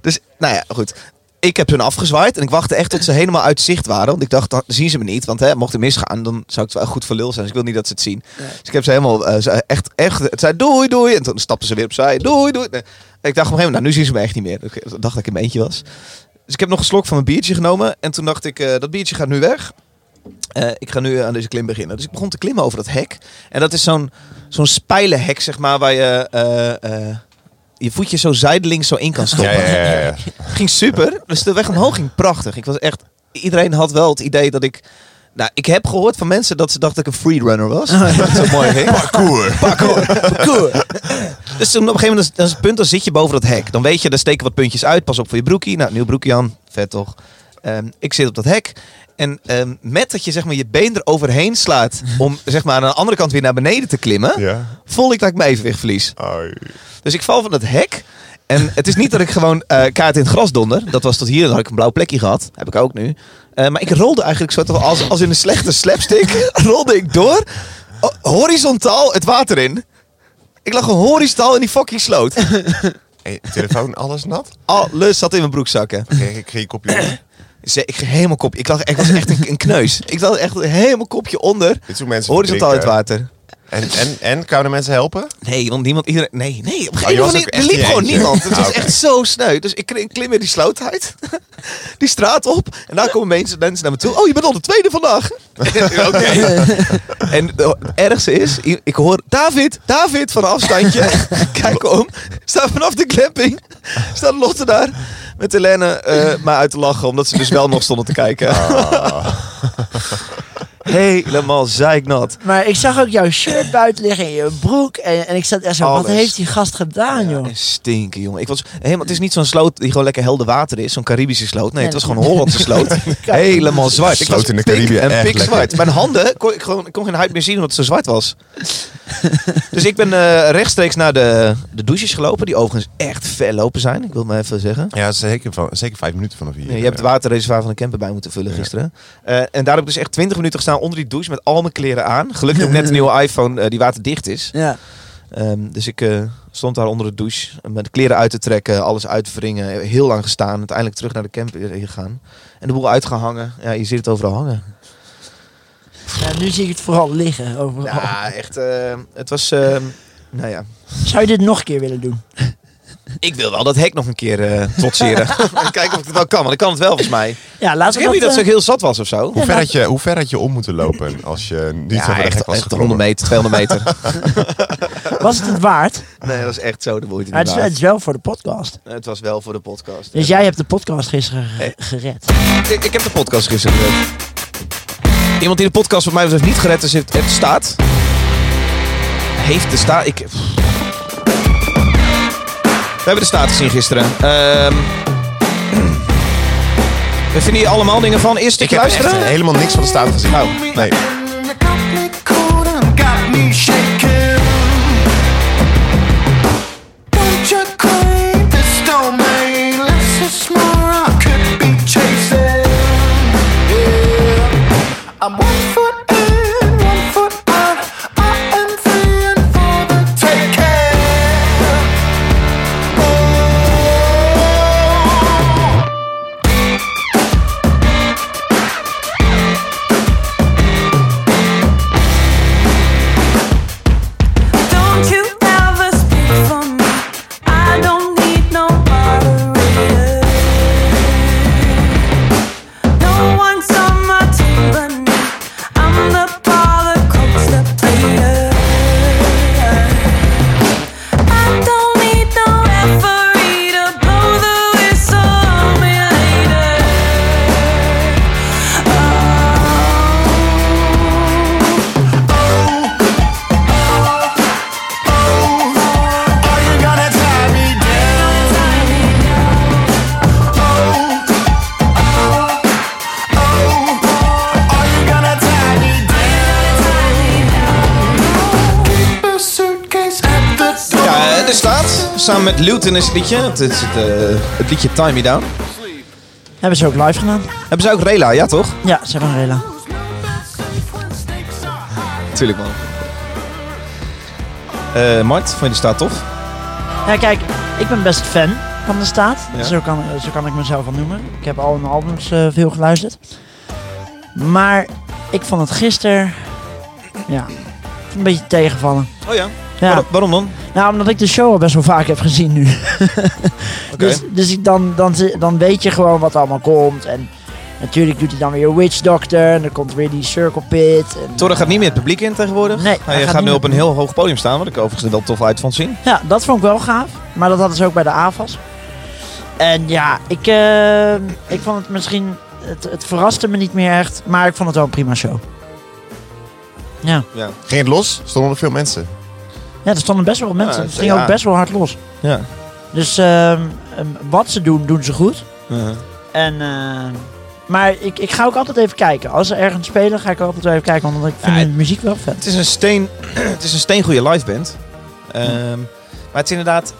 [SPEAKER 1] Dus, nou ja, goed. Ik heb hun afgezwaaid en ik wachtte echt tot ze helemaal uit zicht waren. Want ik dacht, dan zien ze me niet. Want hè, mocht het misgaan, dan zou ik het wel goed voor lul zijn. Dus ik wil niet dat ze het zien. Dus ik heb ze helemaal eh, ze- echt, echt... Het zei doei, doei. En toen stapten ze weer opzij. Doei, doei. Nee. Ik dacht op een gegeven moment, nou nu zien ze me echt niet meer. Ik dacht dat ik in mijn eentje was. Dus ik heb nog een slok van mijn biertje genomen. En toen dacht ik, eh, dat biertje gaat nu weg. Eh, ik ga nu aan deze klim beginnen. Dus ik begon te klimmen over dat hek. En dat is zo'n zo'n spijlenhek, zeg maar, waar je... eh, eh, je voetje zo zijdelings zo in kan
[SPEAKER 2] Ja,
[SPEAKER 1] stoppen.
[SPEAKER 2] ja, ja, ja.
[SPEAKER 1] Ging super. Dus de weg omhoog ging prachtig. Ik was echt... Iedereen had wel het idee dat ik... Nou, ik heb gehoord van mensen dat ze dachten dat ik een freerunner was. Dat is zo mooi ging.
[SPEAKER 2] Parcours.
[SPEAKER 1] Parkour. Parkour. Dus toen op een gegeven moment, dat is het punt, dan zit je boven dat hek. Dan weet je, daar steken wat puntjes uit. Pas op voor je broekie. Nou, nieuw broekje aan. Vet toch? Ehm, ik zit op dat hek. En ehm, met dat je zeg maar, je been er overheen slaat om zeg maar, aan de andere kant weer naar beneden te klimmen,
[SPEAKER 2] Ja.
[SPEAKER 1] voel ik dat ik mijn evenwicht verlies.
[SPEAKER 2] Ai.
[SPEAKER 1] Dus ik val van het hek. En het is niet dat ik gewoon eh, kaart in het gras donder. Dat was tot hier, dan had ik een blauw plekje gehad. Heb ik ook nu. Eh, maar ik rolde eigenlijk soort van als, als in een slechte slapstick. rolde ik door, o- horizontaal het water in. Ik lag gewoon horizontaal in die fucking sloot.
[SPEAKER 2] Hey, telefoon, alles nat?
[SPEAKER 1] Alles zat in mijn broekzakken.
[SPEAKER 2] Kreeg ik geen kopje
[SPEAKER 1] Dus, eh, ik ging helemaal kop. Ik, lag, ik was echt een, een kneus. Ik lag echt helemaal kopje onder.
[SPEAKER 2] Dit doen mensen
[SPEAKER 1] Horizontaal in het
[SPEAKER 2] verdrinken.
[SPEAKER 1] water.
[SPEAKER 2] En, en, en, kouden mensen helpen?
[SPEAKER 1] Nee, want niemand, iedereen, nee, nee, op een
[SPEAKER 2] je
[SPEAKER 1] gegeven
[SPEAKER 2] was
[SPEAKER 1] moment
[SPEAKER 2] ook
[SPEAKER 1] er
[SPEAKER 2] echt
[SPEAKER 1] liep
[SPEAKER 2] niet
[SPEAKER 1] gewoon
[SPEAKER 2] eentje.
[SPEAKER 1] niemand. Het
[SPEAKER 2] Ah,
[SPEAKER 1] was
[SPEAKER 2] oké.
[SPEAKER 1] echt zo sneu. Dus ik klim- klim weer die sloot uit, die straat op. En daar komen mensen, mensen naar me toe. Oh, je bent al de tweede vandaag. Oké. En het ergste is, i- ik hoor David, David van een afstandje. Kijk om, staat vanaf de glamping, staat Lotte daar met Helene eh maar uit te lachen. Omdat ze dus wel nog stonden te kijken.
[SPEAKER 2] Ah.
[SPEAKER 1] Helemaal zeiknat.
[SPEAKER 3] Maar ik zag ook jouw shirt buiten liggen en je broek. En, en ik zat echt zo, wat
[SPEAKER 1] Alles.
[SPEAKER 3] heeft die gast gedaan, joh?
[SPEAKER 1] En stinken, jongen. Ik was helemaal, het is niet zo'n sloot die gewoon lekker helder water is. Zo'n Caribische sloot. Nee, het was gewoon een Hollandse sloot. Helemaal zwart. Ik
[SPEAKER 2] Sloot
[SPEAKER 1] was
[SPEAKER 2] in de
[SPEAKER 1] pik
[SPEAKER 2] Caribië,
[SPEAKER 1] En
[SPEAKER 2] echt
[SPEAKER 1] pik zwart.
[SPEAKER 2] lekker.
[SPEAKER 1] Mijn handen, kon, ik, gewoon, ik kon geen huid meer zien omdat het zo zwart was. dus ik ben eh, rechtstreeks naar de, de douches gelopen. Die overigens echt ver lopen zijn. Ik wil maar even zeggen.
[SPEAKER 2] Ja, zeker, van, zeker vijf minuten vanaf hier.
[SPEAKER 1] Nee, je hebt het waterreservoir van de camper bij moeten vullen gisteren. Eh, en daar heb ik dus echt 20 minuten gestaan onder die douche met al mijn kleren aan. Gelukkig heb ik net een nieuwe iPhone eh, die waterdicht is.
[SPEAKER 3] Ja.
[SPEAKER 1] Ehm, dus ik eh, stond daar onder de douche eh, met de kleren uit te trekken, alles uit te wringen. Heel lang gestaan, uiteindelijk terug naar de camper gegaan. En de boel uitgehangen. Ja, je ziet het overal hangen.
[SPEAKER 3] Ja, nu zie ik het vooral liggen overal.
[SPEAKER 1] Ja, echt. eh, het was. ehm, nou ja.
[SPEAKER 3] Zou je dit nog een keer willen doen?
[SPEAKER 1] Ik wil wel dat hek nog een keer eh, trotseren. En Kijken of ik het wel kan, want ik kan het wel volgens mij.
[SPEAKER 3] Ja,
[SPEAKER 1] Ik
[SPEAKER 3] laten
[SPEAKER 1] weet
[SPEAKER 3] we
[SPEAKER 1] niet dat
[SPEAKER 3] dat...
[SPEAKER 1] ze ook
[SPEAKER 3] eh,
[SPEAKER 1] heel zat was of zo.
[SPEAKER 2] Hoe ver, had je, hoe ver had je om moeten lopen als je niet over de hek
[SPEAKER 1] echt,
[SPEAKER 2] was
[SPEAKER 1] echt
[SPEAKER 2] geklommen?
[SPEAKER 1] 100 meter, 200 meter.
[SPEAKER 3] eh, was het het waard?
[SPEAKER 1] nee, dat was echt zo de moeite.
[SPEAKER 3] Maar het,
[SPEAKER 1] niet
[SPEAKER 3] is,
[SPEAKER 1] waard.
[SPEAKER 3] het is wel voor de podcast.
[SPEAKER 1] Het was wel voor de podcast.
[SPEAKER 3] Dus jij hebt de podcast gisteren ge- gered.
[SPEAKER 1] Ik, ik heb de podcast gisteren gered. Iemand die de podcast voor mij betreft niet gered is, heeft, heeft staat. Heeft de staat. Ik. pff. We hebben de staat gezien gisteren. Ehm we vinden hier allemaal dingen van. Eerst
[SPEAKER 2] Ik
[SPEAKER 1] stukje
[SPEAKER 2] heb echt
[SPEAKER 1] luisteren. Nou.
[SPEAKER 2] helemaal niks van de staat gezien. Oh, Nee.
[SPEAKER 9] I'm one foot in, one foot out. I am free and for the taking. Oh. Don't you ever speak Oh.
[SPEAKER 1] eh, Samen met Luton is het liedje. Het, is het, eh, het liedje Time Me Down.
[SPEAKER 3] Hebben ze ook live gedaan?
[SPEAKER 1] Hebben ze ook Rela, ja toch?
[SPEAKER 3] Ja, ze hebben een Rela.
[SPEAKER 1] Tuurlijk man. Eh Mart, vond je de staat tof?
[SPEAKER 3] Ja, kijk, ik ben best fan van de staat.
[SPEAKER 1] Ja.
[SPEAKER 3] Zo, kan, zo kan ik mezelf al noemen. Ik heb al mijn albums eh, veel geluisterd. Maar ik vond het gisteren... Ja, een beetje tegenvallen.
[SPEAKER 1] Oh ja.
[SPEAKER 3] Ja.
[SPEAKER 1] Waarom, waarom dan?
[SPEAKER 3] Nou, omdat ik de show al best wel vaak heb gezien nu.
[SPEAKER 1] Oké.
[SPEAKER 3] Dus, dus ik dan, dan, zi- dan weet je gewoon wat er allemaal komt. En natuurlijk doet hij dan weer Witch Doctor. En dan komt weer die Circle Pit. En,
[SPEAKER 1] Torre gaat niet meer het publiek in tegenwoordig.
[SPEAKER 3] Nee,
[SPEAKER 1] Hij,
[SPEAKER 3] hij gaat
[SPEAKER 1] gaat nu
[SPEAKER 3] niet
[SPEAKER 1] op een heel hoog podium staan, wat ik overigens er wel tof uit vond zien.
[SPEAKER 3] Ja, dat vond ik wel gaaf. Maar dat hadden ze ook bij de AFAS. En ja, ik, eh, ik vond het misschien... Het, het verraste me niet meer echt. Maar ik vond het wel een prima show. Ja,
[SPEAKER 2] Ging het los? Stonden er veel mensen?
[SPEAKER 3] ja er stonden best wel mensen.
[SPEAKER 1] Ja,
[SPEAKER 3] het
[SPEAKER 1] het-
[SPEAKER 3] ging
[SPEAKER 1] ja.
[SPEAKER 3] ook best wel hard los.
[SPEAKER 1] Ja.
[SPEAKER 3] Dus ehm, ehm, wat ze doen, doen ze goed.
[SPEAKER 1] Ja.
[SPEAKER 3] En, eh, maar ik, ik ga ook altijd even kijken. Als ze ergens spelen, ga ik altijd wel even kijken. Want ik vind
[SPEAKER 1] Ja,
[SPEAKER 3] de muziek wel vet.
[SPEAKER 1] Het is een steen, het is een steengoede liveband. Ehm, Maar het is inderdaad,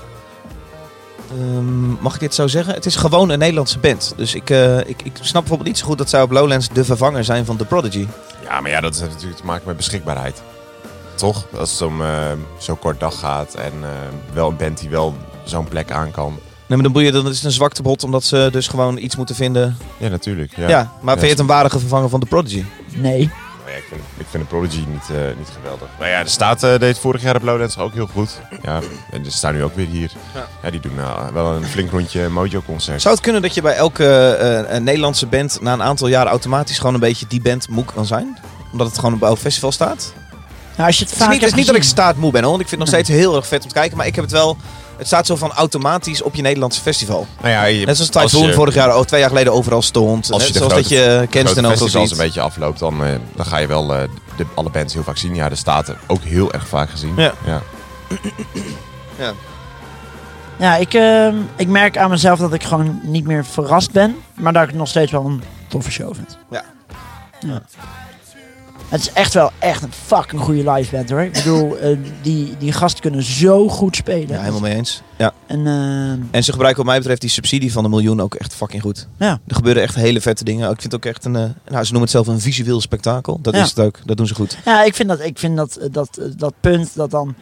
[SPEAKER 1] ehm, mag ik dit zo zeggen? Het is gewoon een Nederlandse band. Dus ik, eh, ik, ik snap bijvoorbeeld niet zo goed dat zij op Lowlands de vervanger zijn van The Prodigy.
[SPEAKER 2] Ja, maar ja, dat heeft natuurlijk te maken met beschikbaarheid. Toch? Als het om eh, zo'n kort dag gaat en eh, wel een band die wel zo'n plek aan kan.
[SPEAKER 1] Nee, maar dan boeien, dan is het een zwakte bot, omdat ze dus gewoon iets moeten vinden.
[SPEAKER 2] Ja, natuurlijk. Ja.
[SPEAKER 1] Ja, maar vind je het een waardige vervanger van The Prodigy?
[SPEAKER 3] Nee.
[SPEAKER 2] Maar ja, ik, vind, ik vind de Prodigy niet, eh, niet geweldig. Maar ja, de staat eh, deed vorig jaar op Lowlands ook heel goed. Ja, en ze staan nu ook weer hier. Ja, die doen nou wel een flink rondje Mojo-concert.
[SPEAKER 1] Zou het kunnen dat je bij elke eh, eh, Nederlandse band na een aantal jaren automatisch gewoon een beetje die band moe kan zijn? Omdat het gewoon op elk festival staat?
[SPEAKER 3] Nou, als je het
[SPEAKER 1] Het
[SPEAKER 3] vaak
[SPEAKER 1] is niet, het is
[SPEAKER 3] hebt
[SPEAKER 1] niet dat ik
[SPEAKER 3] gezien-
[SPEAKER 1] staat moe ben hoor, want ik vind het nog steeds heel erg vet om te kijken. Maar ik heb het wel, het staat zo van automatisch op je Nederlandse festival.
[SPEAKER 2] Nou ja, je-
[SPEAKER 1] Net zoals
[SPEAKER 2] als
[SPEAKER 1] Typhoon
[SPEAKER 2] je-
[SPEAKER 1] vorig jaar, oh, twee jaar geleden overal stond.
[SPEAKER 2] Als
[SPEAKER 1] Net
[SPEAKER 2] je de
[SPEAKER 1] zoals dat
[SPEAKER 2] grote-
[SPEAKER 1] je kennis
[SPEAKER 2] grote
[SPEAKER 1] en overal
[SPEAKER 2] festivals
[SPEAKER 1] ziet.
[SPEAKER 2] een beetje afloopt, dan, eh, dan ga je wel eh, de, alle bands heel vaak zien. Ja, de Staten ook heel erg vaak gezien.
[SPEAKER 1] Ja.
[SPEAKER 2] ja.
[SPEAKER 3] Ja, ik, ehm, ik merk aan mezelf dat ik gewoon niet meer verrast ben. Maar dat ik het nog steeds wel een toffe show vind.
[SPEAKER 1] Ja.
[SPEAKER 3] Ja. Het is echt wel echt een fucking goede live band hoor. Ik bedoel, eh, die, die gasten kunnen zo goed spelen.
[SPEAKER 1] Ja, helemaal mee eens. Ja.
[SPEAKER 3] En ehm,
[SPEAKER 1] En ze gebruiken wat mij betreft die subsidie van de miljoen ook echt fucking goed.
[SPEAKER 3] ja,
[SPEAKER 1] Er gebeuren echt hele vette dingen. Ik vind het ook echt een, eh, nou ze noemen het zelf een visueel spektakel. Dat
[SPEAKER 3] Ja.
[SPEAKER 1] is het ook, dat doen ze goed.
[SPEAKER 3] ja, ik vind, dat, ik vind dat, eh, dat, eh, dat punt dat dan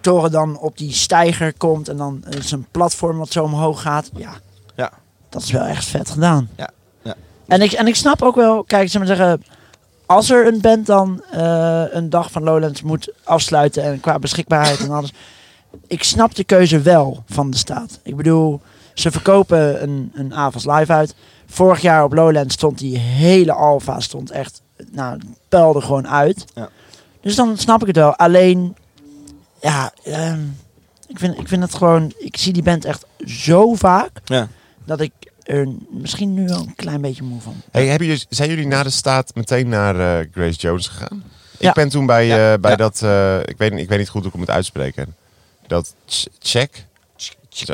[SPEAKER 3] Toren dan op die stijger komt en dan eh, zijn platform wat zo omhoog gaat. Ja,
[SPEAKER 1] Ja.
[SPEAKER 3] dat is wel echt vet gedaan.
[SPEAKER 1] Ja, ja.
[SPEAKER 3] En, ik, en ik snap ook wel, kijk, ze maar zeggen, als er een band dan eh, een dag van Lowlands moet afsluiten en qua beschikbaarheid en alles. Ik snap de keuze wel van de staat. Ik bedoel, ze verkopen een, een avonds live uit. Vorig jaar op Lowlands stond die hele Alfa stond echt, nou, pelde gewoon uit.
[SPEAKER 1] Ja.
[SPEAKER 3] Dus dan snap ik het wel. Alleen, ja, ehm, ik, vind, ik vind het gewoon, ik zie die band echt zo vaak
[SPEAKER 1] Ja.
[SPEAKER 3] dat ik er misschien nu wel een klein beetje moe van.
[SPEAKER 2] Hey, hebben jullie, zijn jullie na de staat meteen naar eh, Grace Jones gegaan?
[SPEAKER 3] Ja.
[SPEAKER 2] Ik ben toen bij,
[SPEAKER 1] Ja.
[SPEAKER 2] eh, bij
[SPEAKER 1] Ja.
[SPEAKER 2] dat... eh, ik, weet, niet- ik weet niet goed hoe ik het moet uitspreken. Dat Ch- check.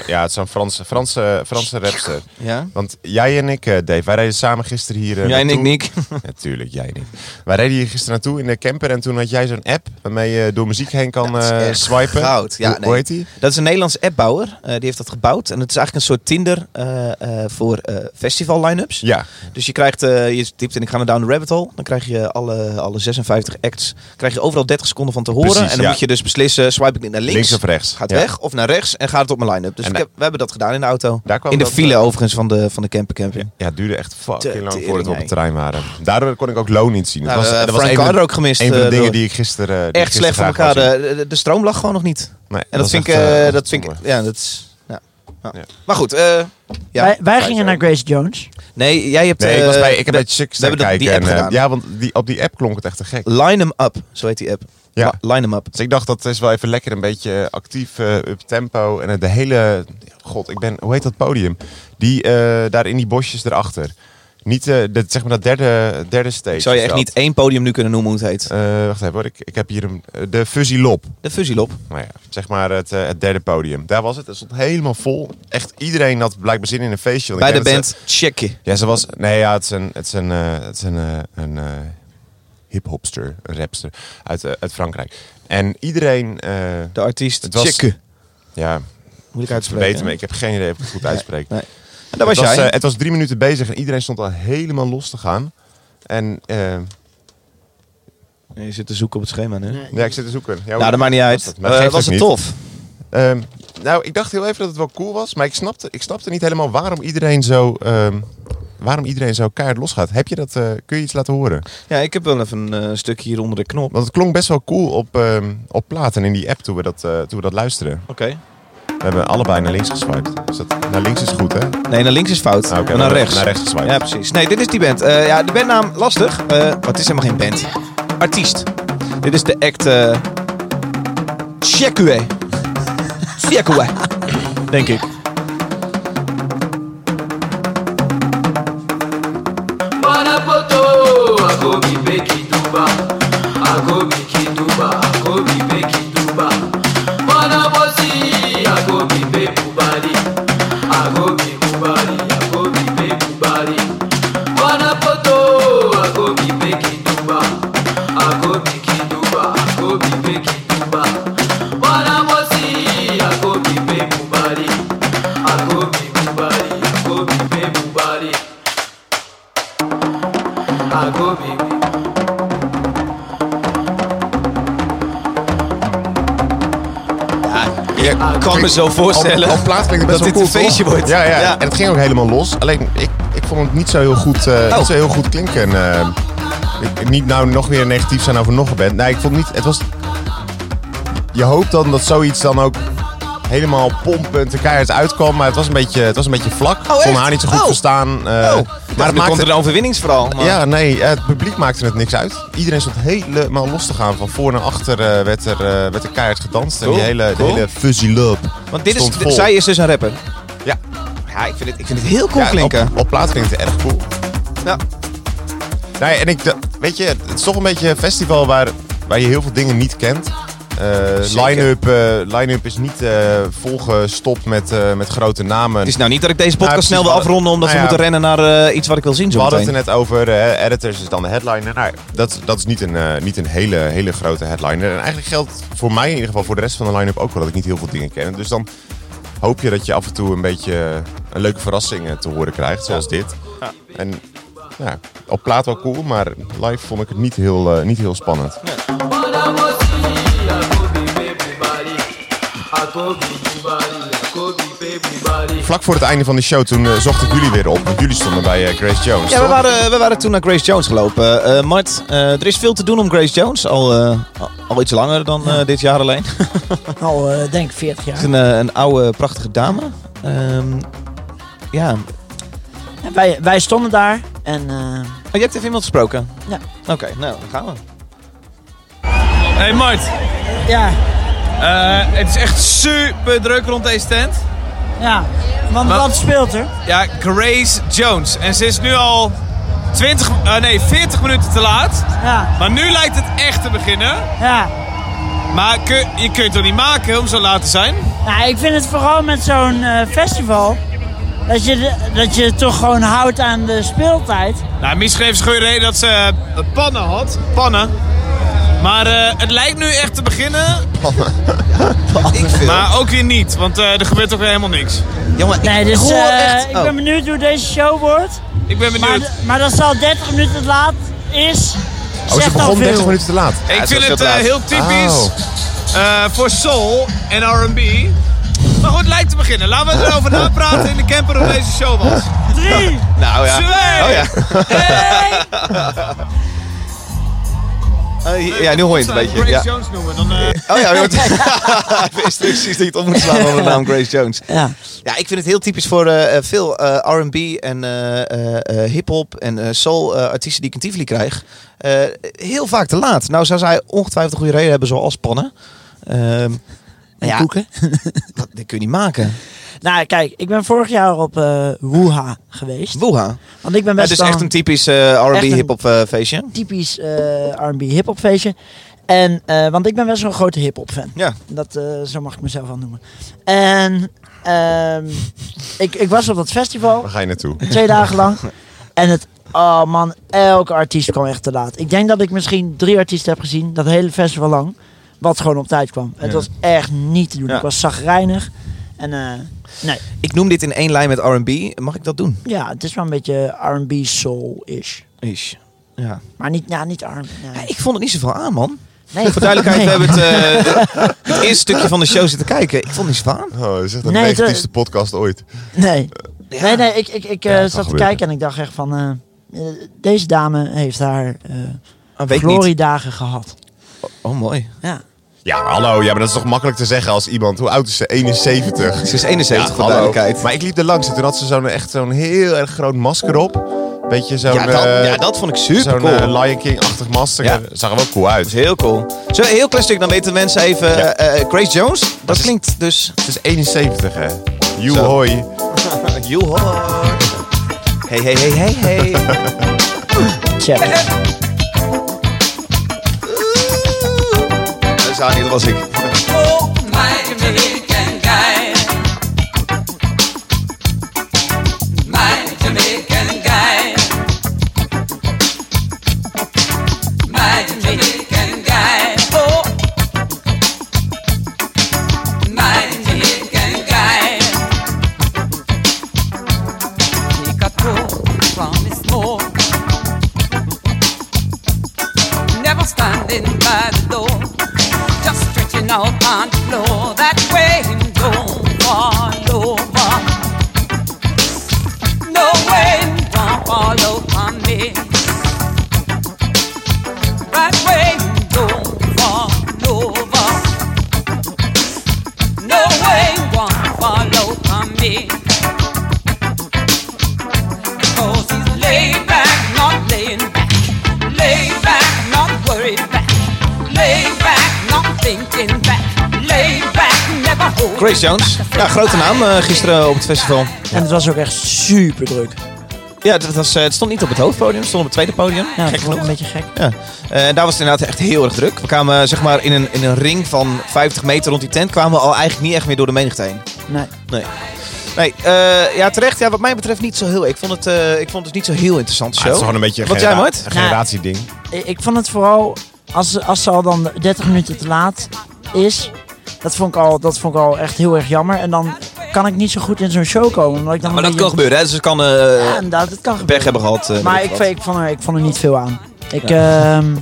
[SPEAKER 2] Ja, het is een Franse, Franse, Franse rapster.
[SPEAKER 1] Ja?
[SPEAKER 2] Want jij en ik, eh, Dave, wij reden samen gisteren hier eh,
[SPEAKER 1] Jij en ik,
[SPEAKER 2] naartoe.
[SPEAKER 1] Nick.
[SPEAKER 2] Natuurlijk, jij niet. Wij reden hier gisteren naartoe in de camper en toen had jij zo'n app waarmee je door muziek heen kan
[SPEAKER 1] Dat is
[SPEAKER 2] eh,
[SPEAKER 1] echt
[SPEAKER 2] swipen.
[SPEAKER 1] goud. Ja,
[SPEAKER 2] Hoe-
[SPEAKER 1] nee.
[SPEAKER 2] Hoe heet die?
[SPEAKER 1] Dat is een Nederlandse appbouwer. eh, die heeft dat gebouwd. En het is eigenlijk een soort Tinder eh, eh, voor eh, festival line-ups.
[SPEAKER 2] Ja.
[SPEAKER 1] Dus je krijgt, eh, je typt in ik ga naar Down the Rabbit Hole. Dan krijg je alle, alle 56 acts, krijg je overal 30 seconden van te horen.
[SPEAKER 2] Precies,
[SPEAKER 1] en dan
[SPEAKER 2] ja.
[SPEAKER 1] moet je dus beslissen, swipe ik niet naar links,
[SPEAKER 2] Links of rechts.
[SPEAKER 1] gaat
[SPEAKER 2] Ja.
[SPEAKER 1] weg of naar rechts en gaat het op mijn line-up. Dus
[SPEAKER 2] En
[SPEAKER 1] ik
[SPEAKER 2] da-
[SPEAKER 1] heb, we hebben dat gedaan in de auto.
[SPEAKER 2] Daar kwam
[SPEAKER 1] In de
[SPEAKER 2] dat,
[SPEAKER 1] file
[SPEAKER 2] eh,
[SPEAKER 1] overigens van de, van de campercamping.
[SPEAKER 2] Ja, het duurde echt
[SPEAKER 1] Te
[SPEAKER 2] fucking lang voordat we
[SPEAKER 1] tering,
[SPEAKER 2] op het terrein waren. Daardoor kon ik ook Loon niet zien. Het
[SPEAKER 1] Nou,
[SPEAKER 2] was,
[SPEAKER 1] eh,
[SPEAKER 2] dat was
[SPEAKER 1] Frank
[SPEAKER 2] een van de-
[SPEAKER 1] Carter ook gemist.
[SPEAKER 2] Een van de
[SPEAKER 1] eh,
[SPEAKER 2] dingen
[SPEAKER 1] door-
[SPEAKER 2] die ik gisteren... eh, die ik
[SPEAKER 1] echt
[SPEAKER 2] gisteren
[SPEAKER 1] slecht voor
[SPEAKER 2] graag wou
[SPEAKER 1] elkaar.
[SPEAKER 2] zien.
[SPEAKER 1] De, de, de stroom lag gewoon nog niet.
[SPEAKER 2] Nee,
[SPEAKER 1] En dat,
[SPEAKER 2] was
[SPEAKER 1] vind ik,
[SPEAKER 2] echt,
[SPEAKER 1] eh,
[SPEAKER 2] eh,
[SPEAKER 1] dat vind ik,
[SPEAKER 2] zonde.
[SPEAKER 1] ja, dat is, ja. Ja.
[SPEAKER 2] Ja.
[SPEAKER 1] Maar goed, eh, ja.
[SPEAKER 3] wij wij gingen naar Grace Jones.
[SPEAKER 1] Nee, jij hebt...
[SPEAKER 2] Nee, ik, was
[SPEAKER 1] eh,
[SPEAKER 2] bij, ik heb
[SPEAKER 1] we-
[SPEAKER 2] bij Chuck
[SPEAKER 1] we
[SPEAKER 2] staan
[SPEAKER 1] hebben dat-
[SPEAKER 2] kijken.
[SPEAKER 1] die app
[SPEAKER 2] en, eh,
[SPEAKER 1] gedaan.
[SPEAKER 2] ja, want die, op die app klonk het echt te gek.
[SPEAKER 1] Line 'em up, zo heet die app.
[SPEAKER 2] Ja.
[SPEAKER 1] Li- Line 'em up.
[SPEAKER 2] Dus ik dacht, dat is wel even lekker een beetje actief, eh, up tempo. En eh, de hele... God, ik ben... Hoe heet dat podium? Die eh, daar in die bosjes erachter. Niet eh, dat, zeg maar dat derde, derde stage.
[SPEAKER 1] Ik zou je
[SPEAKER 2] is
[SPEAKER 1] echt
[SPEAKER 2] dat.
[SPEAKER 1] niet één podium nu kunnen noemen hoe het heet.
[SPEAKER 2] Eh, wacht even hoor, ik, ik heb hier een... eh, de Fuzzy Lop.
[SPEAKER 1] De Fuzzy Lop.
[SPEAKER 2] Nou ja, zeg maar het, eh, het derde podium. Daar was het. Het stond helemaal vol. Echt iedereen had blijkbaar zin in een feestje. want
[SPEAKER 1] Bij
[SPEAKER 2] ik
[SPEAKER 1] de
[SPEAKER 2] denk dat
[SPEAKER 1] band Checky.
[SPEAKER 2] ze- ja, ze was... Nee, ja, het is een... Het is een, eh, het is een, eh, een eh, hiphopster, een rapster uit, eh, uit Frankrijk. En iedereen... eh,
[SPEAKER 1] De artiest
[SPEAKER 2] Het was-
[SPEAKER 1] Checky.
[SPEAKER 2] ja,
[SPEAKER 1] Moeilijk uitspreken.
[SPEAKER 2] Verbeter me, ik heb geen idee of ik het goed uitspreek.
[SPEAKER 1] nee. En daar was,
[SPEAKER 2] het, was,
[SPEAKER 1] jij.
[SPEAKER 2] eh, het was drie minuten bezig en iedereen stond al helemaal los te gaan. En eh,
[SPEAKER 1] Nee, je zit te zoeken op het schema nu.
[SPEAKER 2] ja, ik zit te zoeken. Ja, hoe-
[SPEAKER 1] nou, dat maakt niet uit.
[SPEAKER 2] dat? Maar dat
[SPEAKER 1] Eh,
[SPEAKER 2] geeft
[SPEAKER 1] was het
[SPEAKER 2] ook niet.
[SPEAKER 1] tof?
[SPEAKER 2] Ehm, nou, ik dacht heel even dat het wel cool was, maar ik snapte, ik snapte niet helemaal waarom iedereen zo, ehm, waarom iedereen zo keihard losgaat. Heb je dat, eh, kun je iets laten horen?
[SPEAKER 1] Ja, ik heb wel even een eh, stukje hier onder de knop.
[SPEAKER 2] Want het klonk best wel cool op, ehm op plaat en in die app toen we, dat, eh, toen we dat luisteren.
[SPEAKER 1] Oké.
[SPEAKER 2] We hebben allebei naar links geswiped. Dus dat, naar links is goed, hè?
[SPEAKER 1] Nee, naar links is fout.
[SPEAKER 2] Ah,
[SPEAKER 1] maar
[SPEAKER 2] oké,
[SPEAKER 1] naar
[SPEAKER 2] naar-
[SPEAKER 1] rechts.
[SPEAKER 2] naar rechts geswiped.
[SPEAKER 1] Ja, precies. Nee, dit is die band. Eh, ja, de bandnaam lastig. Eh, maar het is helemaal geen band. Artiest. Dit is de act... eh Chekue. Chekue. Denk ik.
[SPEAKER 2] Ja,
[SPEAKER 1] Ik kan me zo voorstellen.
[SPEAKER 2] Op, op plaat klinkt het best
[SPEAKER 1] dat dit
[SPEAKER 2] wel cool,
[SPEAKER 1] een feestje
[SPEAKER 2] toch?
[SPEAKER 1] wordt.
[SPEAKER 2] Ja, ja,
[SPEAKER 1] Ja.
[SPEAKER 2] en het ging ook helemaal los. Alleen, ik, ik vond het niet zo heel goed, eh,
[SPEAKER 1] Oh.
[SPEAKER 2] niet zo heel goed klinken. eh. ik, niet nou nog weer negatief zijn over nog een band. Nee, ik vond niet... Het was... Je hoopt dan dat zoiets dan ook helemaal pompend en keihard uitkwam. Maar het was een beetje, het was een beetje vlak. Ik kon
[SPEAKER 1] echt?
[SPEAKER 2] haar niet zo goed
[SPEAKER 1] Oh.
[SPEAKER 2] verstaan. eh,
[SPEAKER 1] Maar
[SPEAKER 2] maar
[SPEAKER 1] dan
[SPEAKER 2] het
[SPEAKER 1] komt
[SPEAKER 2] maakte...
[SPEAKER 1] er een overwinningsverhaal. maar-
[SPEAKER 2] Ja, nee, het publiek maakte het niks uit. Iedereen stond helemaal los te gaan. Van voor naar achter eh, werd, er, eh, werd er keihard gedanst. en
[SPEAKER 1] Cool,
[SPEAKER 2] die hele,
[SPEAKER 1] cool.
[SPEAKER 2] de hele fuzzy love
[SPEAKER 1] Want dit
[SPEAKER 2] stond
[SPEAKER 1] is,
[SPEAKER 2] vol.
[SPEAKER 1] zij is dus een rapper.
[SPEAKER 2] Ja.
[SPEAKER 1] Ja, ik vind het, ik vind het heel cool
[SPEAKER 2] Ja,
[SPEAKER 1] klinken.
[SPEAKER 2] Op, op plaats klinkt het erg cool.
[SPEAKER 1] Ja.
[SPEAKER 2] Nee, en ik, d- weet je, het is toch een beetje een festival waar, waar je heel veel dingen niet kent. Eh, line-up, eh, line-up is niet eh, volgestopt met, eh, met grote namen.
[SPEAKER 1] Het is nou niet dat ik deze podcast
[SPEAKER 2] Nou,
[SPEAKER 1] snel wil
[SPEAKER 2] precies, we
[SPEAKER 1] afronden omdat we
[SPEAKER 2] nou ja.
[SPEAKER 1] moeten rennen naar eh, iets wat ik wil zien zo
[SPEAKER 2] We hadden het er
[SPEAKER 1] meteen.
[SPEAKER 2] net over, eh, editors is dan de headliner. Nou, dat, dat is niet een, eh, niet een hele, hele grote headliner. En eigenlijk geldt voor mij in ieder geval voor de rest van de line-up ook wel dat ik niet heel veel dingen ken. Dus dan hoop je dat je af en toe een beetje een leuke verrassing eh, te horen krijgt, zoals dit. En ja, op plaat wel cool, maar live vond ik het niet heel, eh, niet heel spannend. Vlak voor het einde van de show, toen eh, zocht ik jullie weer op. Want jullie stonden bij eh, Grace Jones,
[SPEAKER 1] Ja, we
[SPEAKER 2] toch?
[SPEAKER 1] waren, we waren toen naar Grace Jones gelopen. Eh, Mart, eh, er is veel te doen om Grace Jones. Al, eh, al- al iets langer dan eh, dit jaar alleen. Het
[SPEAKER 3] Al eh, denk ik 40 jaar.
[SPEAKER 1] is een, eh, een oude, prachtige dame. Ehm, ja. Oh,
[SPEAKER 3] En wij, wij stonden daar en eh,
[SPEAKER 1] je hebt even iemand gesproken?
[SPEAKER 3] Ja.
[SPEAKER 1] Oké, nou, dan gaan we.
[SPEAKER 8] Hey Mart,
[SPEAKER 3] ja,
[SPEAKER 8] eh, het is echt super druk rond deze tent.
[SPEAKER 3] ja. Want
[SPEAKER 8] Maar-
[SPEAKER 3] wat speelt er?
[SPEAKER 8] Ja, Grace Jones. En ze is nu al 20, eh, nee, 40 minuten te laat.
[SPEAKER 3] Ja,
[SPEAKER 8] Maar nu lijkt het echt te beginnen.
[SPEAKER 3] ja.
[SPEAKER 8] Maar kun- je kunt het toch niet maken om zo laat te zijn?
[SPEAKER 3] Nou, ik vind het vooral met zo'n eh, festival. Dat je, de- dat je toch gewoon houdt aan de speeltijd.
[SPEAKER 8] Nou, misschien heeft ze gewoon reden dat ze eh, pannen had. Pannen. Maar eh, het lijkt nu echt te beginnen. Maar ook weer niet, want eh, er gebeurt ook weer helemaal niks.
[SPEAKER 1] Jongen,
[SPEAKER 3] Nee, dus
[SPEAKER 1] hoor
[SPEAKER 3] eh,
[SPEAKER 1] echt-
[SPEAKER 3] ik
[SPEAKER 1] oh.
[SPEAKER 3] ben benieuwd hoe deze show wordt.
[SPEAKER 8] Ik ben
[SPEAKER 3] Maar,
[SPEAKER 8] benieuwd.
[SPEAKER 3] d- maar dat ze al 30 minuten laat is.
[SPEAKER 2] Oh, ze
[SPEAKER 3] zegt al
[SPEAKER 2] begon 30
[SPEAKER 3] veel.
[SPEAKER 2] minuten te laat.
[SPEAKER 8] ik vind
[SPEAKER 1] was
[SPEAKER 8] het
[SPEAKER 1] heel
[SPEAKER 8] eh,
[SPEAKER 1] laat.
[SPEAKER 8] heel typisch
[SPEAKER 2] Oh.
[SPEAKER 8] eh, voor soul en R&B. Maar goed, het lijkt te beginnen. Laten we erover napraten in de camper hoe deze show was.
[SPEAKER 3] Drie!
[SPEAKER 1] Nou ja.
[SPEAKER 8] Twee!
[SPEAKER 1] Oh, ja. Eh, ja, nu hoor je het een beetje.
[SPEAKER 8] Grace
[SPEAKER 1] Ja.
[SPEAKER 8] Jones noemen, dan... eh,
[SPEAKER 1] Oh ja, je wordt- ik wist precies dat je het op moet slaan onder de naam Grace Jones.
[SPEAKER 3] Ja.
[SPEAKER 1] Ja, ik vind het heel typisch voor eh, eh, veel eh, R&B en eh, eh, eh, hip-hop en eh, soul eh, artiesten die ik in Tivoli krijg. Eh, heel vaak te laat. Nou zou zij ongetwijfeld een goede reden hebben, zoals pannen. Ehm ja,
[SPEAKER 3] koeken.
[SPEAKER 1] Dat, dit kun je niet maken.
[SPEAKER 3] Nou, kijk, ik ben vorig jaar op eh Woeha geweest.
[SPEAKER 1] Woeha.
[SPEAKER 3] Want ik ben
[SPEAKER 1] Het
[SPEAKER 3] best
[SPEAKER 1] is
[SPEAKER 3] wel
[SPEAKER 1] echt een typisch eh, R&B
[SPEAKER 3] Echt een-
[SPEAKER 1] hip-hop eh, feestje.
[SPEAKER 3] typisch eh, R&B hip-hop feestje. En, eh, want ik ben best wel een grote hip-hop fan.
[SPEAKER 1] Ja.
[SPEAKER 3] Dat, eh, zo mag ik mezelf wel noemen. En ehm, ik, ik was op dat festival
[SPEAKER 2] Waar ga je naartoe?
[SPEAKER 3] twee dagen lang. En het, oh man, elke artiest kwam echt te laat. Ik denk dat ik misschien drie artiesten heb gezien, dat hele festival lang. Wat gewoon op tijd kwam. Het was echt niet te doen.
[SPEAKER 1] Ja.
[SPEAKER 3] Ik was zagrijnig. En eh, nee,
[SPEAKER 1] Ik noem dit in één lijn met R&B. Mag ik dat doen?
[SPEAKER 3] ja, het is wel een beetje R&B soul-ish.
[SPEAKER 1] Ish. Ja.
[SPEAKER 3] Maar niet, ja, niet R&B. Nee.
[SPEAKER 1] Ik vond het niet zoveel aan, man.
[SPEAKER 3] Nee.
[SPEAKER 1] Voor duidelijkheid,
[SPEAKER 3] Nee.
[SPEAKER 1] we hebben het, eh, het eerste stukje van de show zitten kijken. Ik vond het niet zoveel aan.
[SPEAKER 2] Oh, dat is echt de
[SPEAKER 3] Nee,
[SPEAKER 2] negatiefste
[SPEAKER 3] het-
[SPEAKER 2] podcast ooit.
[SPEAKER 1] eh,
[SPEAKER 3] Nee. Nee, nee, ik, ik, ik eh,
[SPEAKER 2] kan
[SPEAKER 3] zat te
[SPEAKER 2] gebeuren.
[SPEAKER 3] kijken en ik dacht echt van... eh, eh, deze dame heeft haar
[SPEAKER 1] Ah,
[SPEAKER 3] eh
[SPEAKER 1] weet ik niet.
[SPEAKER 3] gloriedagen gehad.
[SPEAKER 1] Oh, mooi.
[SPEAKER 3] Ja.
[SPEAKER 2] Ja, hallo. Ja, maar dat is toch makkelijk te zeggen als iemand... Hoe oud is ze? 71.
[SPEAKER 1] Ze is 71, voor
[SPEAKER 2] hallo.
[SPEAKER 1] duidelijkheid.
[SPEAKER 2] Maar ik liep er langs en toen had ze zo'n echt zo'n heel erg groot masker op. Beetje zo'n...
[SPEAKER 1] ja, dat,
[SPEAKER 2] eh,
[SPEAKER 1] ja, dat vond ik super
[SPEAKER 2] Zo'n
[SPEAKER 1] cool.
[SPEAKER 2] eh, Lion King-achtig master.
[SPEAKER 1] Ja.
[SPEAKER 2] Zag er wel cool uit.
[SPEAKER 1] Dat is heel cool. Zo, een heel klein stuk, dan weten mensen even.
[SPEAKER 2] Ja.
[SPEAKER 1] eh, eh, Grace Jones, dat,
[SPEAKER 2] is-
[SPEAKER 1] klinkt dus.
[SPEAKER 2] Het is 71, hè? You
[SPEAKER 1] Zo.
[SPEAKER 2] hoi. Ah,
[SPEAKER 1] Joehoor. Hey, hey, hey, hey, Eh, hey.
[SPEAKER 3] Check.
[SPEAKER 1] Dat is aan, dat was ik.
[SPEAKER 10] Oh Oh. Never standing by the door, just stretching out on the floor. That way and go all over. No way don't fall over me. Right way go all over. No way won't fall over me. Cause he's laid back, not laying back. Lay back, not worried back. Lay back, not thinking back. Lay back, never hold.
[SPEAKER 1] Grace Jones. Ja, grote naam eh, gisteren op het festival.
[SPEAKER 3] En het was ook echt super druk.
[SPEAKER 1] Ja, dat was, eh, het stond niet op het hoofdpodium, het stond op het tweede podium.
[SPEAKER 3] Ja,
[SPEAKER 1] Gek
[SPEAKER 3] het was
[SPEAKER 1] genoeg.
[SPEAKER 3] een beetje gek.
[SPEAKER 1] Ja. Eh, en daar was het inderdaad echt heel erg druk. We kwamen eh, zeg maar in een, in een ring van 50 meter rond die tent, kwamen we al eigenlijk niet echt meer door de menigte heen.
[SPEAKER 3] Nee.
[SPEAKER 1] Nee. Nee, eh, ja terecht. Ja, wat mij betreft niet zo heel. Ik vond het, eh, ik vond het niet zo heel interessant show.
[SPEAKER 2] Ah, het is gewoon een beetje een,
[SPEAKER 1] Wat jij,
[SPEAKER 2] genera-
[SPEAKER 1] Mart?
[SPEAKER 2] een generatieding.
[SPEAKER 3] Ik, ik vond het vooral, als, ze- als ze al dan 30 minuten te laat is, dat vond, ik al, dat vond ik al echt heel erg jammer. En dan kan ik niet zo goed in zo'n show komen. Omdat ik dan
[SPEAKER 1] Maar
[SPEAKER 3] een
[SPEAKER 1] dat
[SPEAKER 3] beetje-
[SPEAKER 1] kan gebeuren, hè? Dus het kan eh
[SPEAKER 3] Ja, inderdaad, dat kan
[SPEAKER 1] pech
[SPEAKER 3] gebeuren.
[SPEAKER 1] hebben gehad. eh,
[SPEAKER 3] Maar
[SPEAKER 1] weet
[SPEAKER 3] ik,
[SPEAKER 1] wat.
[SPEAKER 3] ik, vond er, ik vond er niet veel aan. Ik, ehm,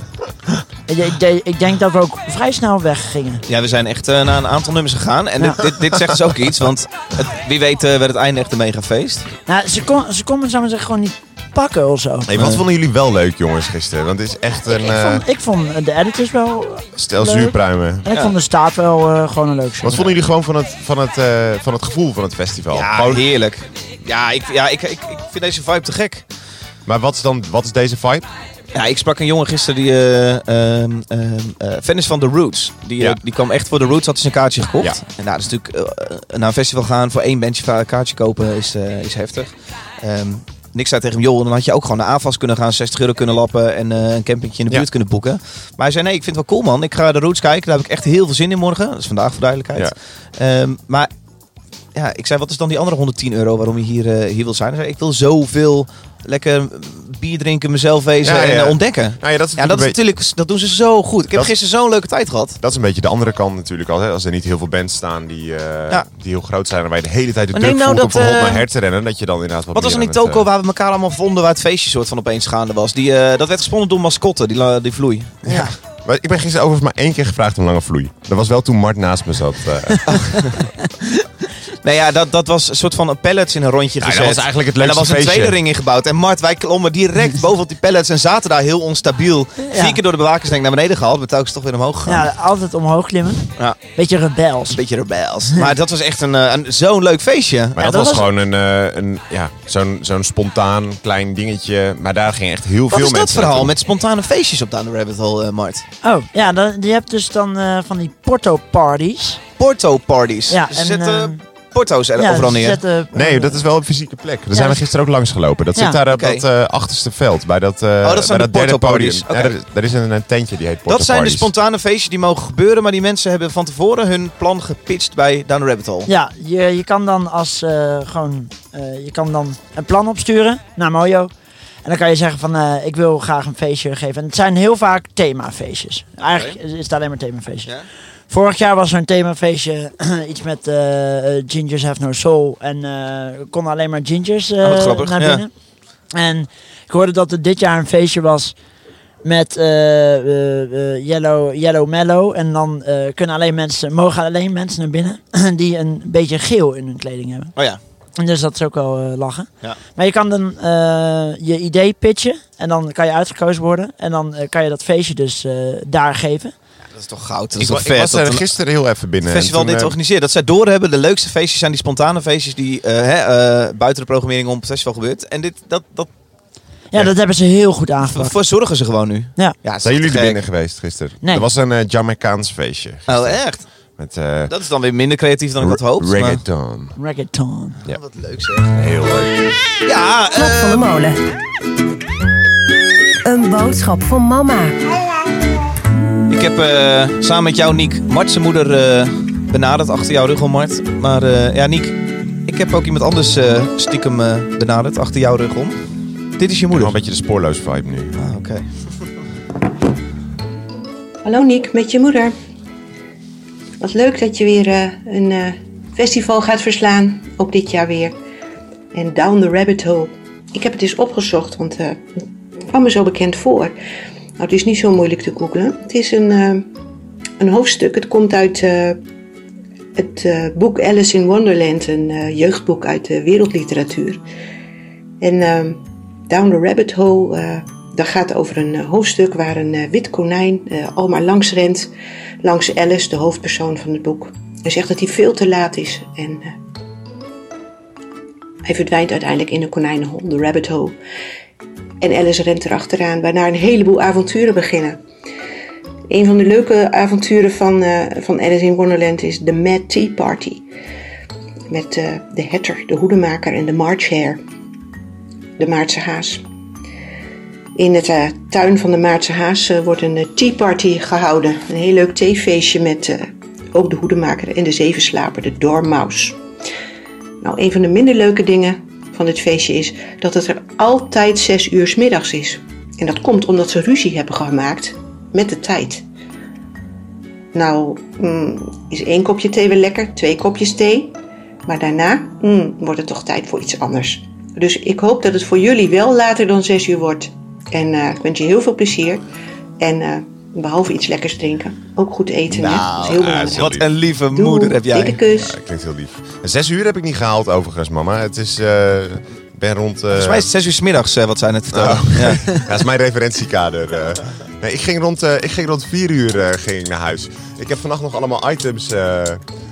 [SPEAKER 3] ik, ik, de- ik denk dat we ook vrij snel weggingen.
[SPEAKER 1] Ja, we zijn echt eh, naar een aantal nummers gegaan. En
[SPEAKER 3] Ja.
[SPEAKER 1] dit, dit, dit zegt dus ook iets, want het- wie weet eh, werd het einde echt een mega feest.
[SPEAKER 3] Nou, ze, kon, ze konden zou maar zeggen, gewoon niet pakken of zo.
[SPEAKER 2] Hey, wat vonden jullie wel leuk, jongens, gisteren? Want het is echt een
[SPEAKER 3] ik,
[SPEAKER 2] eh,
[SPEAKER 3] vond, ik vond de editors wel...
[SPEAKER 2] stel
[SPEAKER 3] leuk.
[SPEAKER 2] zuurpruimen.
[SPEAKER 3] En ik vond de staat wel eh, gewoon een leuk show.
[SPEAKER 2] Wat vonden jullie gewoon van het, van het, eh, van het gevoel van het festival?
[SPEAKER 1] Ja,
[SPEAKER 2] Gewoon-
[SPEAKER 1] heerlijk. Ja, ik, ja ik, ik, ik vind deze vibe te gek.
[SPEAKER 2] maar wat is, dan, wat is deze vibe?
[SPEAKER 1] Ja, ik sprak een jongen gisteren die eh, ehm, ehm, eh, fan is van The Roots. Die, eh,
[SPEAKER 2] Ja.
[SPEAKER 1] die kwam echt voor The Roots, had ze een kaartje gekocht.
[SPEAKER 2] Ja.
[SPEAKER 1] En nou, dat is natuurlijk eh, eh, naar een festival gaan voor één bandje een kaartje kopen is, eh, is heftig. Ehm niks zei tegen hem, joh, dan had je ook gewoon naar AFAS kunnen gaan, 60 euro kunnen lappen en eh, een campingje in de
[SPEAKER 2] Ja.
[SPEAKER 1] buurt kunnen boeken. Maar hij zei, nee, ik vind het wel cool man, ik ga The Roots kijken, daar heb ik echt heel veel zin in morgen. Dat is vandaag voor duidelijkheid. Ehm, maar ja, ik zei, wat is dan die andere 110 euro waarom je hier, eh, hier wil zijn? Hij zei, ik wil zoveel lekker bier drinken, mezelf wezen
[SPEAKER 2] Ja,
[SPEAKER 1] en
[SPEAKER 2] ja.
[SPEAKER 1] eh, ontdekken.
[SPEAKER 2] Nou ja, dat is,
[SPEAKER 1] Ja, dat, is
[SPEAKER 2] natuurlijk een
[SPEAKER 1] natuurlijk, dat doen ze zo goed. Ik heb
[SPEAKER 2] Dat-
[SPEAKER 1] gisteren zo'n leuke tijd gehad.
[SPEAKER 2] beetje- dat is een beetje de andere kant natuurlijk al. Hè? Als er niet heel veel bands staan die, eh,
[SPEAKER 1] Ja.
[SPEAKER 2] die heel groot zijn... en waar je de hele tijd de
[SPEAKER 1] Maar
[SPEAKER 2] druk
[SPEAKER 1] neem nou
[SPEAKER 2] voelt om
[SPEAKER 1] dat,
[SPEAKER 2] van hot
[SPEAKER 1] eh,
[SPEAKER 2] naar her te rennen... dat je dan inderdaad wat
[SPEAKER 1] Wat was
[SPEAKER 2] meer
[SPEAKER 1] er
[SPEAKER 2] aan
[SPEAKER 1] in
[SPEAKER 2] het,
[SPEAKER 1] Toko
[SPEAKER 2] eh,
[SPEAKER 1] waar we elkaar allemaal vonden, waar het feestje soort van opeens gaande was? Die, eh, dat werd gesponnen door mascotten, die, la- die vloei.
[SPEAKER 3] Ja.
[SPEAKER 2] eh, Maar ik ben gisteren overigens maar één keer gevraagd om lange vloei. Dat was wel toen Mart naast me zat. eh.
[SPEAKER 1] Nee, ja, dat, dat was een soort van pallets in een rondje
[SPEAKER 2] dat
[SPEAKER 1] gezet.
[SPEAKER 2] was eigenlijk het
[SPEAKER 1] En daar
[SPEAKER 2] leukste
[SPEAKER 1] was een
[SPEAKER 2] feestje.
[SPEAKER 1] tweede ring in gebouwd. En Mart, wij klommen direct bovenop die pallets en zaten daar heel onstabiel.
[SPEAKER 3] Ja.
[SPEAKER 1] Vier keer door de bewakers denk ik naar beneden gehaald, maar telkens toch weer omhoog gegaan.
[SPEAKER 3] Ja, altijd omhoog klimmen.
[SPEAKER 1] Ja.
[SPEAKER 3] Beetje rebels.
[SPEAKER 1] Een beetje rebels. maar dat was echt een, eh, een, zo'n leuk feestje.
[SPEAKER 2] Maar
[SPEAKER 3] Ja, dat
[SPEAKER 2] dat, was,
[SPEAKER 3] was-
[SPEAKER 2] gewoon een, eh, een, ja, zo'n, zo'n spontaan klein dingetje. Maar daar gingen echt heel
[SPEAKER 1] Wat
[SPEAKER 2] veel
[SPEAKER 1] is dat
[SPEAKER 2] mensen
[SPEAKER 1] verhaal
[SPEAKER 2] naartoe.
[SPEAKER 1] met spontane feestjes op Down the Rabbit Hole, eh, Mart?
[SPEAKER 3] Oh, ja, dan, je hebt dus dan eh, van die porto-parties.
[SPEAKER 1] Porto-parties.
[SPEAKER 3] Ja,
[SPEAKER 1] Ze
[SPEAKER 3] en,
[SPEAKER 1] zetten
[SPEAKER 3] eh,
[SPEAKER 1] porto's er
[SPEAKER 3] ja, dus
[SPEAKER 1] overal
[SPEAKER 3] ze
[SPEAKER 1] neer.
[SPEAKER 3] zetten-
[SPEAKER 2] Nee, dat is wel een fysieke plek. Daar zijn we
[SPEAKER 3] dat-
[SPEAKER 2] gisteren ook langs gelopen. Dat
[SPEAKER 3] Ja,
[SPEAKER 2] zit daar op
[SPEAKER 1] oké. Oh,
[SPEAKER 2] dat eh, achterste veld. Bij dat, eh,
[SPEAKER 1] dat zijn
[SPEAKER 2] bij
[SPEAKER 1] de
[SPEAKER 2] dat derde podium.
[SPEAKER 1] portoparties.
[SPEAKER 2] Ja,
[SPEAKER 1] Oké.
[SPEAKER 2] daar, daar is een, een tentje die heet Porto
[SPEAKER 1] Dat zijn de
[SPEAKER 2] Parties.
[SPEAKER 1] spontane feestjes die mogen gebeuren, maar die mensen hebben van tevoren hun plan gepitcht bij Down the Rabbit Hole.
[SPEAKER 3] Ja, je, je kan dan als eh, gewoon, eh, je kan dan een plan opsturen naar Mojo. En dan kan je zeggen van, eh, ik wil graag een feestje geven. En het zijn heel vaak themafeestjes. Eigenlijk is het alleen maar themafeestjes. Vorig jaar was er een themafeestje, iets met eh, eh, Gingers Have No Soul. En eh er konden alleen maar Gingers eh,
[SPEAKER 1] Ah, wat grappig,
[SPEAKER 3] naar
[SPEAKER 1] ja.
[SPEAKER 3] binnen. En ik hoorde dat er dit jaar een feestje was met eh, eh, eh, Yellow, Yellow Mellow. En dan eh, kunnen alleen mensen, mogen alleen mensen naar binnen die een beetje geel in hun kleding hebben.
[SPEAKER 1] Oh ja.
[SPEAKER 3] En dus dat is ook wel eh, lachen.
[SPEAKER 1] Ja.
[SPEAKER 3] Maar je kan dan eh, je idee pitchen en dan kan je uitgekozen worden. En dan eh, kan je dat feestje dus eh, daar geven.
[SPEAKER 1] Dat is toch goud? Dat
[SPEAKER 2] Ik
[SPEAKER 1] is
[SPEAKER 2] wa-
[SPEAKER 1] toch
[SPEAKER 2] ik
[SPEAKER 1] vet?
[SPEAKER 2] was
[SPEAKER 1] dat
[SPEAKER 2] er
[SPEAKER 1] een-
[SPEAKER 2] gisteren heel even binnen.
[SPEAKER 1] Het festival
[SPEAKER 2] en toen,
[SPEAKER 1] dit
[SPEAKER 2] eh,
[SPEAKER 1] organiseert. Dat zij doorhebben. De leukste feestjes zijn die spontane feestjes die eh, hè, eh, buiten de programmering om het festival gebeurt. En dit, dat, dat
[SPEAKER 3] Ja, dat hebben ze heel goed aangepakt.
[SPEAKER 1] voor zorgen ze gewoon nu.
[SPEAKER 3] Ja.
[SPEAKER 1] ja
[SPEAKER 2] Zijn jullie er binnen
[SPEAKER 1] binnen?
[SPEAKER 2] geweest gisteren?
[SPEAKER 3] Nee.
[SPEAKER 2] Er was een eh, Jamaicaans feestje.
[SPEAKER 1] Oh, echt?
[SPEAKER 2] Met eh
[SPEAKER 1] Dat is dan weer minder creatief dan ik had gehoopt. maar-
[SPEAKER 2] reggaeton.
[SPEAKER 3] Reggaeton.
[SPEAKER 1] Ja, Oh, Wat leuk zeg. Heel leuk. Ja,
[SPEAKER 6] Klok van de molen. Een boodschap voor mama.
[SPEAKER 1] Ik heb eh, samen met jou, Niek, Mart zijn moeder eh, benaderd. Achter jouw rug om, Mart. Maar eh, ja, Niek, ik heb ook iemand anders eh, stiekem eh, benaderd. Achter jouw rug om. Dit is je
[SPEAKER 2] Wel
[SPEAKER 1] moeder.
[SPEAKER 2] een beetje de spoorloos vibe nu.
[SPEAKER 1] Ah, Oké.
[SPEAKER 11] Hallo Nick, met je moeder. Wat leuk dat je weer eh, een eh, festival gaat verslaan, ook dit jaar weer. En Down the Rabbit Hole. Ik heb het eens opgezocht, want eh, het kwam me zo bekend voor. Nou, het is niet zo moeilijk te googlen. Het is een, eh, een hoofdstuk, het komt uit eh, het eh, boek Alice in Wonderland, een eh, jeugdboek uit de wereldliteratuur. En ehm, Down the Rabbit Hole, eh, dat gaat over een eh, hoofdstuk waar een eh, wit konijn eh, al maar langs rent, langs Alice, de hoofdpersoon van het boek. Hij zegt dat hij veel te laat is en eh, hij verdwijnt uiteindelijk in een konijnenhol, de rabbit hole. En Alice rent erachteraan, waarna een heleboel avonturen beginnen. Een van de leuke avonturen van, eh, van Alice in Wonderland is de Mad Tea Party. Met eh, de Hatter, de hoedemaker en de March Hare, de Maartse haas. In het eh, tuin van de Maartse Haas eh, wordt een eh, tea party gehouden. Een heel leuk theefeestje met eh, ook de hoedemaker en de zevenslaper, de dormaus. Nou, een van de minder leuke dingen van dit feestje is dat het er altijd zes uur 's middags is. En dat komt omdat ze ruzie hebben gemaakt met de tijd. Nou, mm, is één kopje thee wel lekker, twee kopjes thee. Maar daarna mm, wordt het toch tijd voor iets anders. Dus ik hoop dat het voor jullie wel later dan 6 uur wordt. En eh, ik wens je heel veel plezier. En eh, behalve iets lekkers drinken, ook goed eten. hè?
[SPEAKER 2] Nou.
[SPEAKER 11] Dat is heel belangrijk.
[SPEAKER 1] wat een lieve
[SPEAKER 11] Doei.
[SPEAKER 1] moeder heb jij.
[SPEAKER 11] Dikke kus.
[SPEAKER 2] Ja, klinkt heel lief. Zes uur heb ik niet gehaald overigens, mama. Het is... eh, ik ben rond... eh,
[SPEAKER 1] Volgens mij is het zes uur 's middags eh, wat zij net vertelde. Ja.
[SPEAKER 2] Ja, dat is mijn referentiekader. eh. Nee, ik, ging rond, eh, ik ging rond vier uur eh, ging ik naar huis. Ik heb vannacht nog allemaal items eh,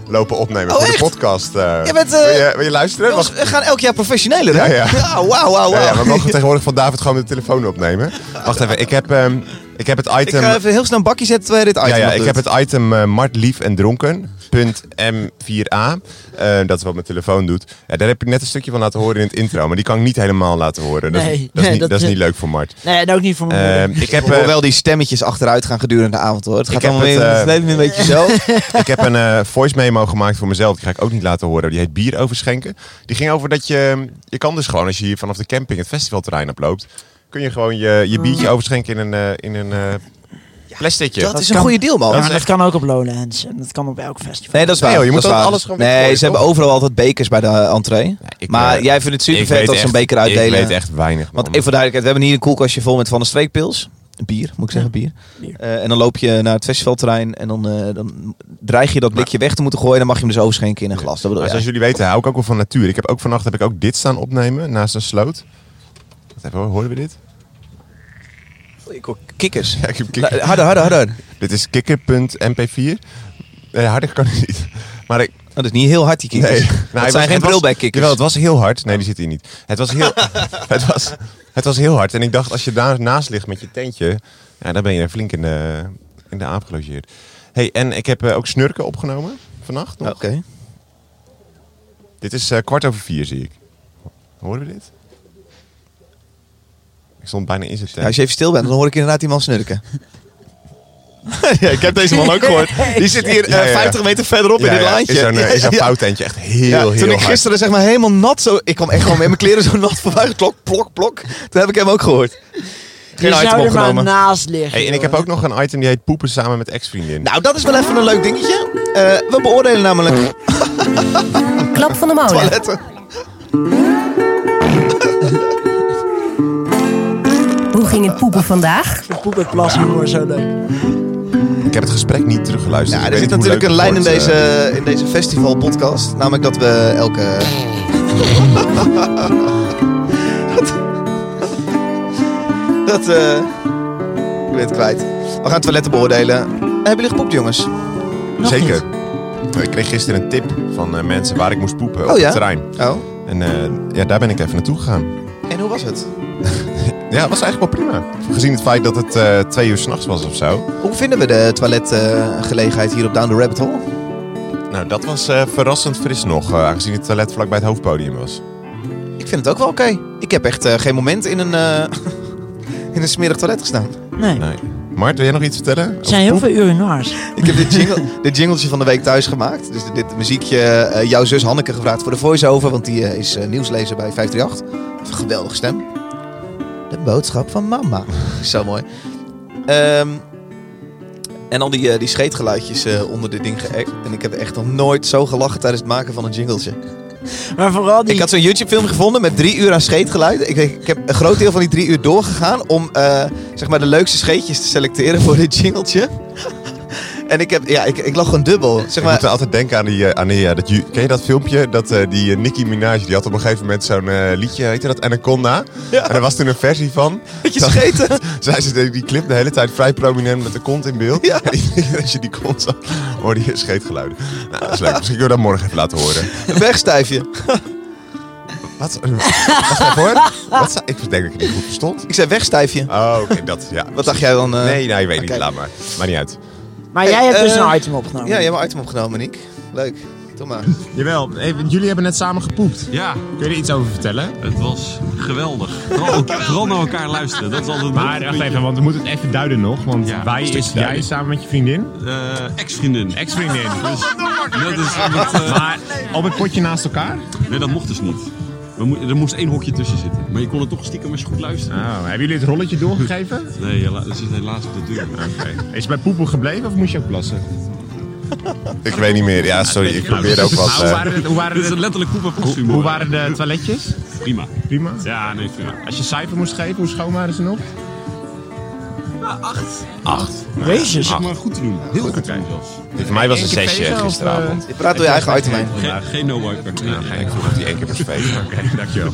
[SPEAKER 2] lopen opnemen
[SPEAKER 1] Oh,
[SPEAKER 2] voor
[SPEAKER 1] echt?
[SPEAKER 2] de podcast. eh.
[SPEAKER 1] Je bent, eh,
[SPEAKER 2] wil, je, wil je luisteren?
[SPEAKER 1] Jongens,
[SPEAKER 2] Mag-
[SPEAKER 1] we gaan elk jaar professioneler, hè?
[SPEAKER 2] Ja, ja.
[SPEAKER 1] wauw, wauw, Oh, wauw.
[SPEAKER 2] Ja, ja, we mogen tegenwoordig van David gewoon met de telefoon opnemen. Wacht even, ik heb, ehm, ik heb het item...
[SPEAKER 1] Ik ga even heel snel een bakje zetten terwijl je dit item
[SPEAKER 2] Ja, ja ik
[SPEAKER 1] opdoet.
[SPEAKER 2] heb het item eh, Mart Lief en Dronken.m4a. Eh, dat is wat mijn telefoon doet. Ja, daar heb ik net een stukje van laten horen in het intro. Maar die kan ik niet helemaal laten horen. Dat, is-
[SPEAKER 3] Nee,
[SPEAKER 2] dat, is,
[SPEAKER 3] nee,
[SPEAKER 2] niet,
[SPEAKER 3] dat
[SPEAKER 2] dat, is
[SPEAKER 3] is-
[SPEAKER 2] niet leuk voor Mart.
[SPEAKER 3] Nee, en ook niet voor mijn moeder.
[SPEAKER 2] Ehm, ik heb,
[SPEAKER 1] Ik hoor
[SPEAKER 2] eh,
[SPEAKER 1] wel die stemmetjes achteruit gaan gedurende de avond, hoor. Het gaat
[SPEAKER 2] Ik heb
[SPEAKER 1] allemaal weer
[SPEAKER 2] het, eh,
[SPEAKER 1] het leven weer een beetje zo.
[SPEAKER 2] ik heb een eh, voice memo gemaakt voor mezelf. Die ga ik ook niet laten horen. Die heet Bier overschenken. Die ging over dat je... Je kan dus gewoon, als je hier vanaf de camping het festivalterrein oploopt... kun je gewoon je, je biertje overschenken in een, eh, in een eh, plasticje.
[SPEAKER 1] Mm. Dat is een goede deal, man.
[SPEAKER 3] Ja,
[SPEAKER 2] dat
[SPEAKER 3] maar
[SPEAKER 2] is
[SPEAKER 3] dat
[SPEAKER 2] echt-
[SPEAKER 3] kan ook op Lowlands. En dat kan op elk festival.
[SPEAKER 1] Nee, dat is waar.
[SPEAKER 2] Nee, joh, je
[SPEAKER 1] dat
[SPEAKER 2] moet
[SPEAKER 1] is
[SPEAKER 2] ook
[SPEAKER 1] waar.
[SPEAKER 2] alles gewoon
[SPEAKER 1] Nee,
[SPEAKER 2] weggooien,
[SPEAKER 1] ze hebben
[SPEAKER 2] toch?
[SPEAKER 1] overal altijd bekers bij de eh, entree.
[SPEAKER 2] ik,
[SPEAKER 1] maar
[SPEAKER 2] eh,
[SPEAKER 1] jij vindt het super
[SPEAKER 2] Ik
[SPEAKER 1] vet
[SPEAKER 2] weet
[SPEAKER 1] dat ze een
[SPEAKER 2] echt-
[SPEAKER 1] beker
[SPEAKER 2] Ik
[SPEAKER 1] uitdelen.
[SPEAKER 2] weet echt weinig, man.
[SPEAKER 1] Want even voor de duidelijkheid, we hebben hier een koelkastje vol met Van der Streek pils. Bier, moet ik zeggen, bier. Eh, en dan loop je naar het festivalterrein en dan, eh, dan dreig je dat blikje weg te moeten gooien. Dan mag je hem dus overschenken in een glas. Dat bedoel
[SPEAKER 2] Maar
[SPEAKER 1] ik.
[SPEAKER 2] zoals jullie weten hou ik ook wel van natuur. Ik heb ook vannacht heb ik ook dit staan opnemen naast een sloot. Wat hebben we, hoorden we dit?
[SPEAKER 1] Ik hoor kikkers.
[SPEAKER 2] Ja, ik heb kikker.
[SPEAKER 1] Nou, harder, harder, harder.
[SPEAKER 2] Dit is kikker.mp4. Nee, Eh, harder kan het niet. Maar ik,
[SPEAKER 1] Oh, dat is niet heel hard, die kikkers.
[SPEAKER 2] Nee. Nou,
[SPEAKER 1] dat
[SPEAKER 2] hij was-
[SPEAKER 1] zijn geen
[SPEAKER 2] het was-
[SPEAKER 1] brilbijkikkers.
[SPEAKER 2] Jawel, het was heel hard. Nee, die zit hier niet. Het was heel, het was, het was heel hard. En ik dacht, als je daarnaast ligt met je tentje, ja, dan ben je flink in de, in de aap gelogeerd. hey, en ik heb eh, ook snurken opgenomen vannacht nog.
[SPEAKER 1] Oké. Nou,
[SPEAKER 2] Dit is eh, kwart over vier, zie ik. Horen we dit? Ik stond bijna in zijn
[SPEAKER 1] Ja, als
[SPEAKER 2] tent.
[SPEAKER 1] je even stil bent, dan hoor ik inderdaad iemand snurken. ja, ik heb deze man ook gehoord. Die zit hier eh, 50 meter verderop in dit lijntje.
[SPEAKER 2] Is zo'n, eh, is zo'n
[SPEAKER 1] Ja.
[SPEAKER 2] pauwtentje echt heel,
[SPEAKER 1] Ja,
[SPEAKER 2] heel
[SPEAKER 1] toen ik
[SPEAKER 2] hard.
[SPEAKER 1] gisteren zeg maar helemaal nat zo... Ik kwam echt gewoon met mijn kleren zo nat voorbij. Klok, plok, plok. Toen heb ik hem ook gehoord. Geen item opgenomen.
[SPEAKER 3] naast liggen.
[SPEAKER 2] Hey, en ik heb ook nog een item die heet poepen samen met ex-vriendin.
[SPEAKER 1] Nou, dat is wel even een leuk dingetje. Eh, we beoordelen namelijk...
[SPEAKER 6] Klap van de molen.
[SPEAKER 1] Toiletten.
[SPEAKER 6] Hoe ging het poepen vandaag?
[SPEAKER 3] Poep en plassen hoor, zo leuk.
[SPEAKER 2] Ik heb het gesprek niet teruggeluisterd.
[SPEAKER 1] Ja,
[SPEAKER 2] Ik
[SPEAKER 1] er
[SPEAKER 2] weet
[SPEAKER 1] zit
[SPEAKER 2] niet hoe
[SPEAKER 1] natuurlijk een
[SPEAKER 2] leuk
[SPEAKER 1] lijn in
[SPEAKER 2] het wordt, eh.
[SPEAKER 1] deze, in deze festivalpodcast. Namelijk dat we elke... dat... dat eh, ik ben het kwijt. We gaan toiletten beoordelen. Hebben jullie gepoept, jongens?
[SPEAKER 2] eh, Zeker. Ik kreeg gisteren een tip van eh, mensen waar ik moest poepen op
[SPEAKER 1] Oh, ja?
[SPEAKER 2] het terrein.
[SPEAKER 1] Oh.
[SPEAKER 2] En eh, ja, daar ben ik even naartoe gegaan.
[SPEAKER 1] En hoe was het?
[SPEAKER 2] Ja, het was eigenlijk wel prima. Gezien het feit dat het eh, twee uur s'nachts was of zo.
[SPEAKER 1] Hoe vinden we de toiletgelegenheid hier op Down the Rabbit Hole?
[SPEAKER 2] Nou, dat was eh, verrassend fris nog, eh, aangezien het toilet vlak bij het hoofdpodium was.
[SPEAKER 1] Ik vind het ook wel oké. Ik heb echt eh, geen moment in een, eh, in een smerig toilet gestaan.
[SPEAKER 3] Nee.
[SPEAKER 2] Mart, wil jij nog iets vertellen?
[SPEAKER 3] Er zijn heel veel urinoirs.
[SPEAKER 1] Ik heb dit, jingle, dit jingletje van de week thuis gemaakt. Dus dit muziekje, eh, jouw zus Hanneke gevraagd voor de voice-over. Want die eh, is eh, nieuwslezer bij 538. Heeft een geweldige stem. De boodschap van mama. Zo mooi. Ehm, en al die, eh, die scheetgeluidjes eh, onder dit ding geëkt. En ik heb echt nog nooit zo gelachen tijdens het maken van een jingletje.
[SPEAKER 3] Maar vooral die...
[SPEAKER 1] Ik had zo'n YouTube-film gevonden met drie uur aan scheetgeluiden. Ik, denk, ik heb een groot deel van die drie uur doorgegaan om eh, zeg maar de leukste scheetjes te selecteren voor dit jingletje. en ik, heb, ja, ik, ik lag gewoon dubbel. Zeg
[SPEAKER 2] Ik
[SPEAKER 1] maar,
[SPEAKER 2] moet wel altijd denken aan die... eh, aan die eh, dat, ju- ken je dat filmpje? Dat, eh, die eh, Nicki Minaj, die had op een gegeven moment zo'n eh, liedje, heette dat? Anaconda. En er was toen een versie van.
[SPEAKER 1] Dat je scheten.
[SPEAKER 2] Zij ze deed die clip de hele tijd vrij prominent met de kont in beeld. En iedereen, als je die kont zag, hoorde je scheetgeluiden. Nou, dat is leuk. Misschien kunnen we dat morgen even laten horen.
[SPEAKER 1] wegstijfje.
[SPEAKER 2] Wat? Wacht even hoor. Wat zei- ik denk dat ik het niet goed verstond.
[SPEAKER 1] Ik zei wegstijfje.
[SPEAKER 2] Oh, oké, dat, ja.
[SPEAKER 1] Wat dacht jij dan? eh?
[SPEAKER 2] Nee, nee, ik weet
[SPEAKER 1] Oké.
[SPEAKER 2] niet. Laat maar. Maakt niet uit.
[SPEAKER 3] Maar jij hebt dus
[SPEAKER 1] eh,
[SPEAKER 3] een item opgenomen.
[SPEAKER 1] Ja, jij hebt een item opgenomen, Nick. Leuk. Doe maar.
[SPEAKER 2] Jawel, jullie hebben net samen gepoept.
[SPEAKER 12] Ja.
[SPEAKER 2] Kun je er iets over vertellen?
[SPEAKER 12] Het was geweldig. Vooral, vooral naar elkaar luisteren. Dat is altijd
[SPEAKER 13] Maar wacht even, want we moeten het even duiden nog. Want
[SPEAKER 12] Ja,
[SPEAKER 13] wij
[SPEAKER 12] een stukje
[SPEAKER 13] is jij
[SPEAKER 12] duiden.
[SPEAKER 13] samen met je vriendin?
[SPEAKER 12] Eh, ex-vriendin.
[SPEAKER 13] Ex-vriendin.
[SPEAKER 12] Dus, dat is, dat, eh,
[SPEAKER 13] Maar op het potje naast elkaar?
[SPEAKER 12] Nee, dat mocht dus niet. We mo- er moest één hokje tussen zitten. Maar je kon het toch stiekem eens goed luisteren.
[SPEAKER 13] Oh, hebben jullie het rolletje doorgegeven?
[SPEAKER 12] Nee, hela- dat zit helaas op de deur.
[SPEAKER 13] Is het bij poepen gebleven of moest je ook plassen?
[SPEAKER 2] Ik weet niet meer. Ja, sorry. Ik probeer ook wat.
[SPEAKER 13] Maar hoe waren
[SPEAKER 2] eh
[SPEAKER 13] het- hoe waren
[SPEAKER 12] Dit is
[SPEAKER 13] het-
[SPEAKER 12] letterlijk poep en plas
[SPEAKER 13] Hoe,
[SPEAKER 12] humor.
[SPEAKER 13] hoe waren de toiletjes?
[SPEAKER 12] Prima.
[SPEAKER 13] Prima?
[SPEAKER 12] Ja, nee, prima.
[SPEAKER 13] Als je cijfer moest geven, hoe schoon waren ze nog?
[SPEAKER 12] acht. Acht.
[SPEAKER 13] Jezus.
[SPEAKER 12] Zeg maar goed te doen. Heel goed te doen zelfs.
[SPEAKER 2] voor mij was het een
[SPEAKER 13] Eén keer
[SPEAKER 2] zesje
[SPEAKER 13] feesten of,
[SPEAKER 2] gisteravond.
[SPEAKER 13] eh,
[SPEAKER 1] Je praat door je eigen item heen.
[SPEAKER 12] Geen, geen no-wiper. Nee, nee.
[SPEAKER 2] Ik vroeg of die één keer per feest. Oké,
[SPEAKER 13] dankjewel.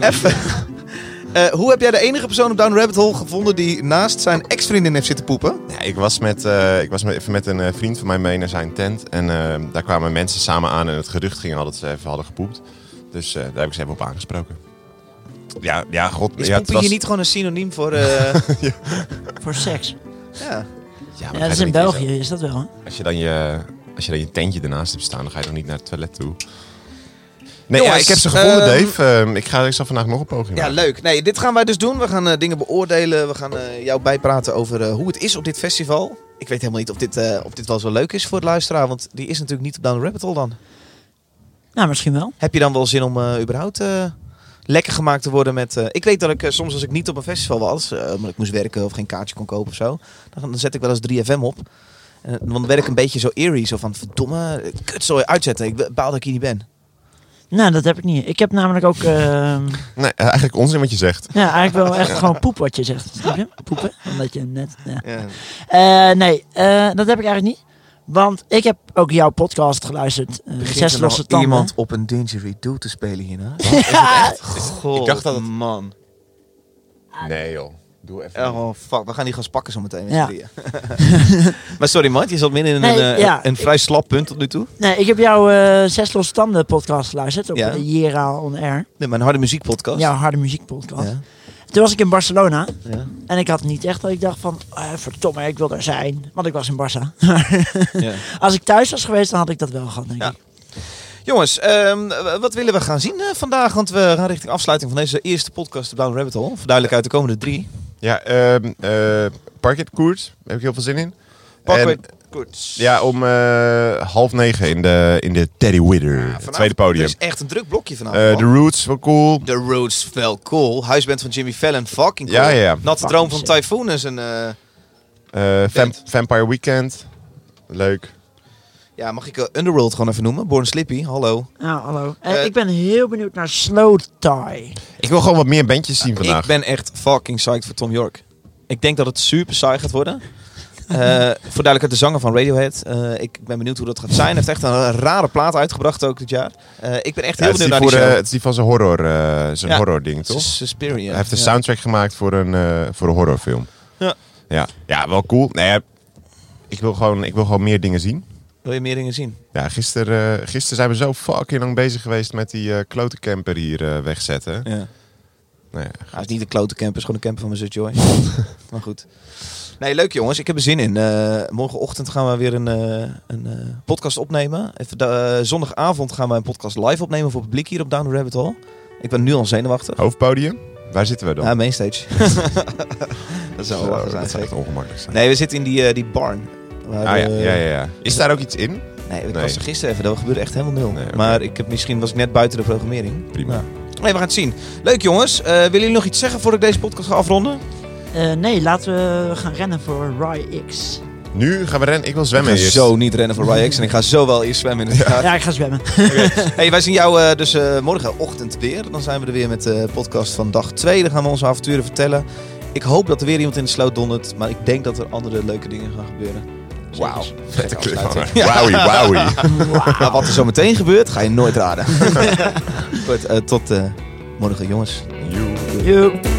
[SPEAKER 1] Even. Eh, hoe heb jij de enige persoon op Down the Rabbit Hole gevonden die naast zijn ex-vriendin heeft zitten poepen?
[SPEAKER 2] Ja, ik was, met, eh, ik was met, even met een eh, vriend van mij mee naar zijn tent. En eh, daar kwamen mensen samen aan en het gerucht ging al dat ze even hadden gepoept. Dus eh, daar heb ik ze even op aangesproken. Ja, ja god.
[SPEAKER 1] Is
[SPEAKER 2] ja,
[SPEAKER 1] poepen hier Dus niet gewoon een synoniem voor... eh,
[SPEAKER 3] Voor seks.
[SPEAKER 1] ja.
[SPEAKER 2] Ja,
[SPEAKER 3] Ja,
[SPEAKER 2] maar
[SPEAKER 3] dat
[SPEAKER 2] ga
[SPEAKER 3] is
[SPEAKER 2] je
[SPEAKER 3] in
[SPEAKER 2] dan niet-
[SPEAKER 3] België, is dat wel? hè?
[SPEAKER 2] Als je, dan je, als je dan je tentje ernaast hebt staan, dan ga je toch niet naar het toilet toe. Nee,
[SPEAKER 1] Jongens,
[SPEAKER 2] ja, ik heb ze gevonden,
[SPEAKER 1] ehm,
[SPEAKER 2] Dave. Ehm, ik, ga, ik zal vandaag nog een poging
[SPEAKER 1] Ja,
[SPEAKER 2] maken.
[SPEAKER 1] leuk. Nee, dit gaan wij dus doen. We gaan eh, dingen beoordelen. We gaan eh, jou bijpraten over eh, hoe het is op dit festival. Ik weet helemaal niet of dit, eh, of dit wel zo leuk is voor het luisteraar. Want die is natuurlijk niet op Down the Rabbit Hole dan.
[SPEAKER 3] Nou, misschien wel.
[SPEAKER 1] Heb je dan wel zin om eh, überhaupt eh, lekker gemaakt te worden met... eh, ik weet dat ik eh, soms als ik niet op een festival was, eh omdat ik moest werken of geen kaartje kon kopen of zo. Dan, dan zet ik wel eens 3FM op. En eh, dan werd ik een beetje zo eerie. Zo van, verdomme, kut, zal je uitzetten. Ik baal dat ik hier niet ben.
[SPEAKER 3] Nou, dat heb ik niet. Ik heb namelijk ook... ehm,
[SPEAKER 2] Nee, eh, eigenlijk onzin wat je zegt.
[SPEAKER 3] ja, eigenlijk wel echt gewoon poep wat je zegt. Snap je? Poepen. Omdat je net... Ja.
[SPEAKER 1] Ja.
[SPEAKER 3] Eh, nee, eh, dat heb ik eigenlijk niet. Want ik heb ook jouw podcast geluisterd. eh,
[SPEAKER 1] Begint
[SPEAKER 3] zes
[SPEAKER 1] er
[SPEAKER 3] losse
[SPEAKER 1] nou
[SPEAKER 3] tanden.
[SPEAKER 1] iemand op een didgeridoo te spelen hierna? God,
[SPEAKER 2] Ik dacht dat het-
[SPEAKER 1] man.
[SPEAKER 2] Nee joh, doe even.
[SPEAKER 1] Oh, fuck. We gaan die gaan pakken zo meteen met
[SPEAKER 3] Ja.
[SPEAKER 1] z'n drieën. maar sorry, Mart. Je zat midden in
[SPEAKER 3] Nee,
[SPEAKER 1] een, eh,
[SPEAKER 3] ja,
[SPEAKER 1] een vrij slap punt tot nu toe.
[SPEAKER 3] Nee, ik heb jouw eh, Zes Losse Tanden podcast geluisterd. Op
[SPEAKER 1] Ja.
[SPEAKER 3] de Jera On Air.
[SPEAKER 1] Nee, mijn harde muziekpodcast.
[SPEAKER 3] Jouw harde muziekpodcast.
[SPEAKER 1] Ja.
[SPEAKER 3] Toen was ik in Barcelona.
[SPEAKER 1] Ja.
[SPEAKER 3] En ik had niet echt dat ik dacht van... eh verdomme, ik wil daar zijn. Want ik was in Barça.
[SPEAKER 1] Ja.
[SPEAKER 3] Als ik thuis was geweest, dan had ik dat wel gehad, denk
[SPEAKER 1] Ja.
[SPEAKER 3] ik.
[SPEAKER 1] Jongens, ehm, w- wat willen we gaan zien eh, vandaag? Want we gaan richting afsluiting van deze eerste podcast op Down Rabbit Hole. Voor duidelijkheid de komende drie.
[SPEAKER 2] Ja, ehm, eh, parketkoers. Daar heb ik heel veel zin in.
[SPEAKER 1] Parketkoers.
[SPEAKER 2] En- Ja, om eh, half negen in de, in de Teddy Widder. het tweede podium.
[SPEAKER 1] Het is echt een druk blokje vanavond.
[SPEAKER 2] Eh,
[SPEAKER 1] man.
[SPEAKER 2] de Roots, wel cool.
[SPEAKER 1] The Roots, wel cool. Huisband van Jimmy Fallon, fucking cool.
[SPEAKER 2] Ja, ja, ja.
[SPEAKER 1] Natte
[SPEAKER 2] Fucking
[SPEAKER 1] Droom van
[SPEAKER 2] sick.
[SPEAKER 1] Typhoon is een... eh,
[SPEAKER 2] Eh, Vamp- Vampire Weekend. Leuk.
[SPEAKER 1] ja, mag ik eh, Underworld gewoon even noemen? Born Slippy, hallo.
[SPEAKER 3] Nou, hallo. Eh, ik ben heel benieuwd naar Slow Tie.
[SPEAKER 2] Ik wil gewoon wat meer bandjes zien vandaag.
[SPEAKER 1] Ik ben echt fucking psyched voor Tom York. Ik denk dat het super saai gaat worden. Eh, voor duidelijkheid de zanger van Radiohead. Eh, ik ben benieuwd hoe dat gaat zijn. Hij heeft echt een rare plaat uitgebracht ook dit jaar. Eh, ik ben echt
[SPEAKER 2] Ja,
[SPEAKER 1] heel
[SPEAKER 2] het,
[SPEAKER 1] benieuwd
[SPEAKER 2] is die
[SPEAKER 1] naar
[SPEAKER 2] voor,
[SPEAKER 1] die show.
[SPEAKER 2] eh, het is die van zijn horror, eh, zijn
[SPEAKER 1] Ja,
[SPEAKER 2] horror ding,
[SPEAKER 1] het is
[SPEAKER 2] toch?
[SPEAKER 1] Suspiria,
[SPEAKER 2] Hij heeft een
[SPEAKER 1] ja.
[SPEAKER 2] soundtrack gemaakt voor een, eh, voor een horrorfilm.
[SPEAKER 1] Ja.
[SPEAKER 2] Ja, ja wel cool. Nee, ja, ik, wil gewoon, ik wil gewoon meer dingen zien.
[SPEAKER 1] Wil je meer dingen zien?
[SPEAKER 2] Ja, gisteren, eh, gisteren zijn we zo fucking lang bezig geweest met die eh klote camper hier eh, wegzetten.
[SPEAKER 1] Ja.
[SPEAKER 2] Nou ja,
[SPEAKER 1] Hij is niet een klote camper, is gewoon een camper van mijn zus Joy. maar goed. Nee, leuk jongens. Ik heb er zin in. Eh, morgenochtend gaan we weer een, eh, een eh, podcast opnemen. Even da- eh, zondagavond gaan we een podcast live opnemen voor publiek hier op Down the Rabbit Hole. Ik ben nu al zenuwachtig.
[SPEAKER 2] Hoofdpodium? Waar zitten we dan?
[SPEAKER 1] Ja, mainstage. dat zou wel
[SPEAKER 2] Zo,
[SPEAKER 1] lachen zijn.
[SPEAKER 2] dat zou echt
[SPEAKER 1] zeker.
[SPEAKER 2] ongemakkelijk zijn.
[SPEAKER 1] Nee, we zitten in die, eh, die barn. Waar,
[SPEAKER 2] Ah, ja,
[SPEAKER 1] eh,
[SPEAKER 2] ja, ja, ja. Is daar ook iets in?
[SPEAKER 1] Nee, ik
[SPEAKER 2] Nee.
[SPEAKER 1] was er gisteren even. Dat gebeurde echt helemaal nul. Maar ik heb, misschien was ik net buiten de programmering.
[SPEAKER 2] Prima.
[SPEAKER 1] Ja. Nee, we gaan het zien. Leuk jongens. Eh, willen jullie nog iets zeggen voordat ik deze podcast ga afronden?
[SPEAKER 3] Eh, nee, laten we gaan rennen voor Rye X.
[SPEAKER 2] Nu gaan we rennen. Ik wil zwemmen
[SPEAKER 1] Ik ga
[SPEAKER 2] eerst.
[SPEAKER 1] zo niet rennen voor Ryan en ik ga zo wel eerst zwemmen in het
[SPEAKER 3] Ja, ik ga zwemmen.
[SPEAKER 1] Hey, wij zien jou eh, dus eh, morgenochtend weer. Dan zijn we er weer met de podcast van dag 2. Dan gaan we onze avonturen vertellen. Ik hoop dat er weer iemand in de sloot dondert. Maar ik denk dat er andere leuke dingen gaan gebeuren. Wauw.
[SPEAKER 2] Vette cliffhanger. Wowie, wowie.
[SPEAKER 1] Maar wat er zo meteen gebeurt, ga je nooit raden. Goed, eh, tot eh, morgen jongens.
[SPEAKER 2] Joe.
[SPEAKER 3] Joep.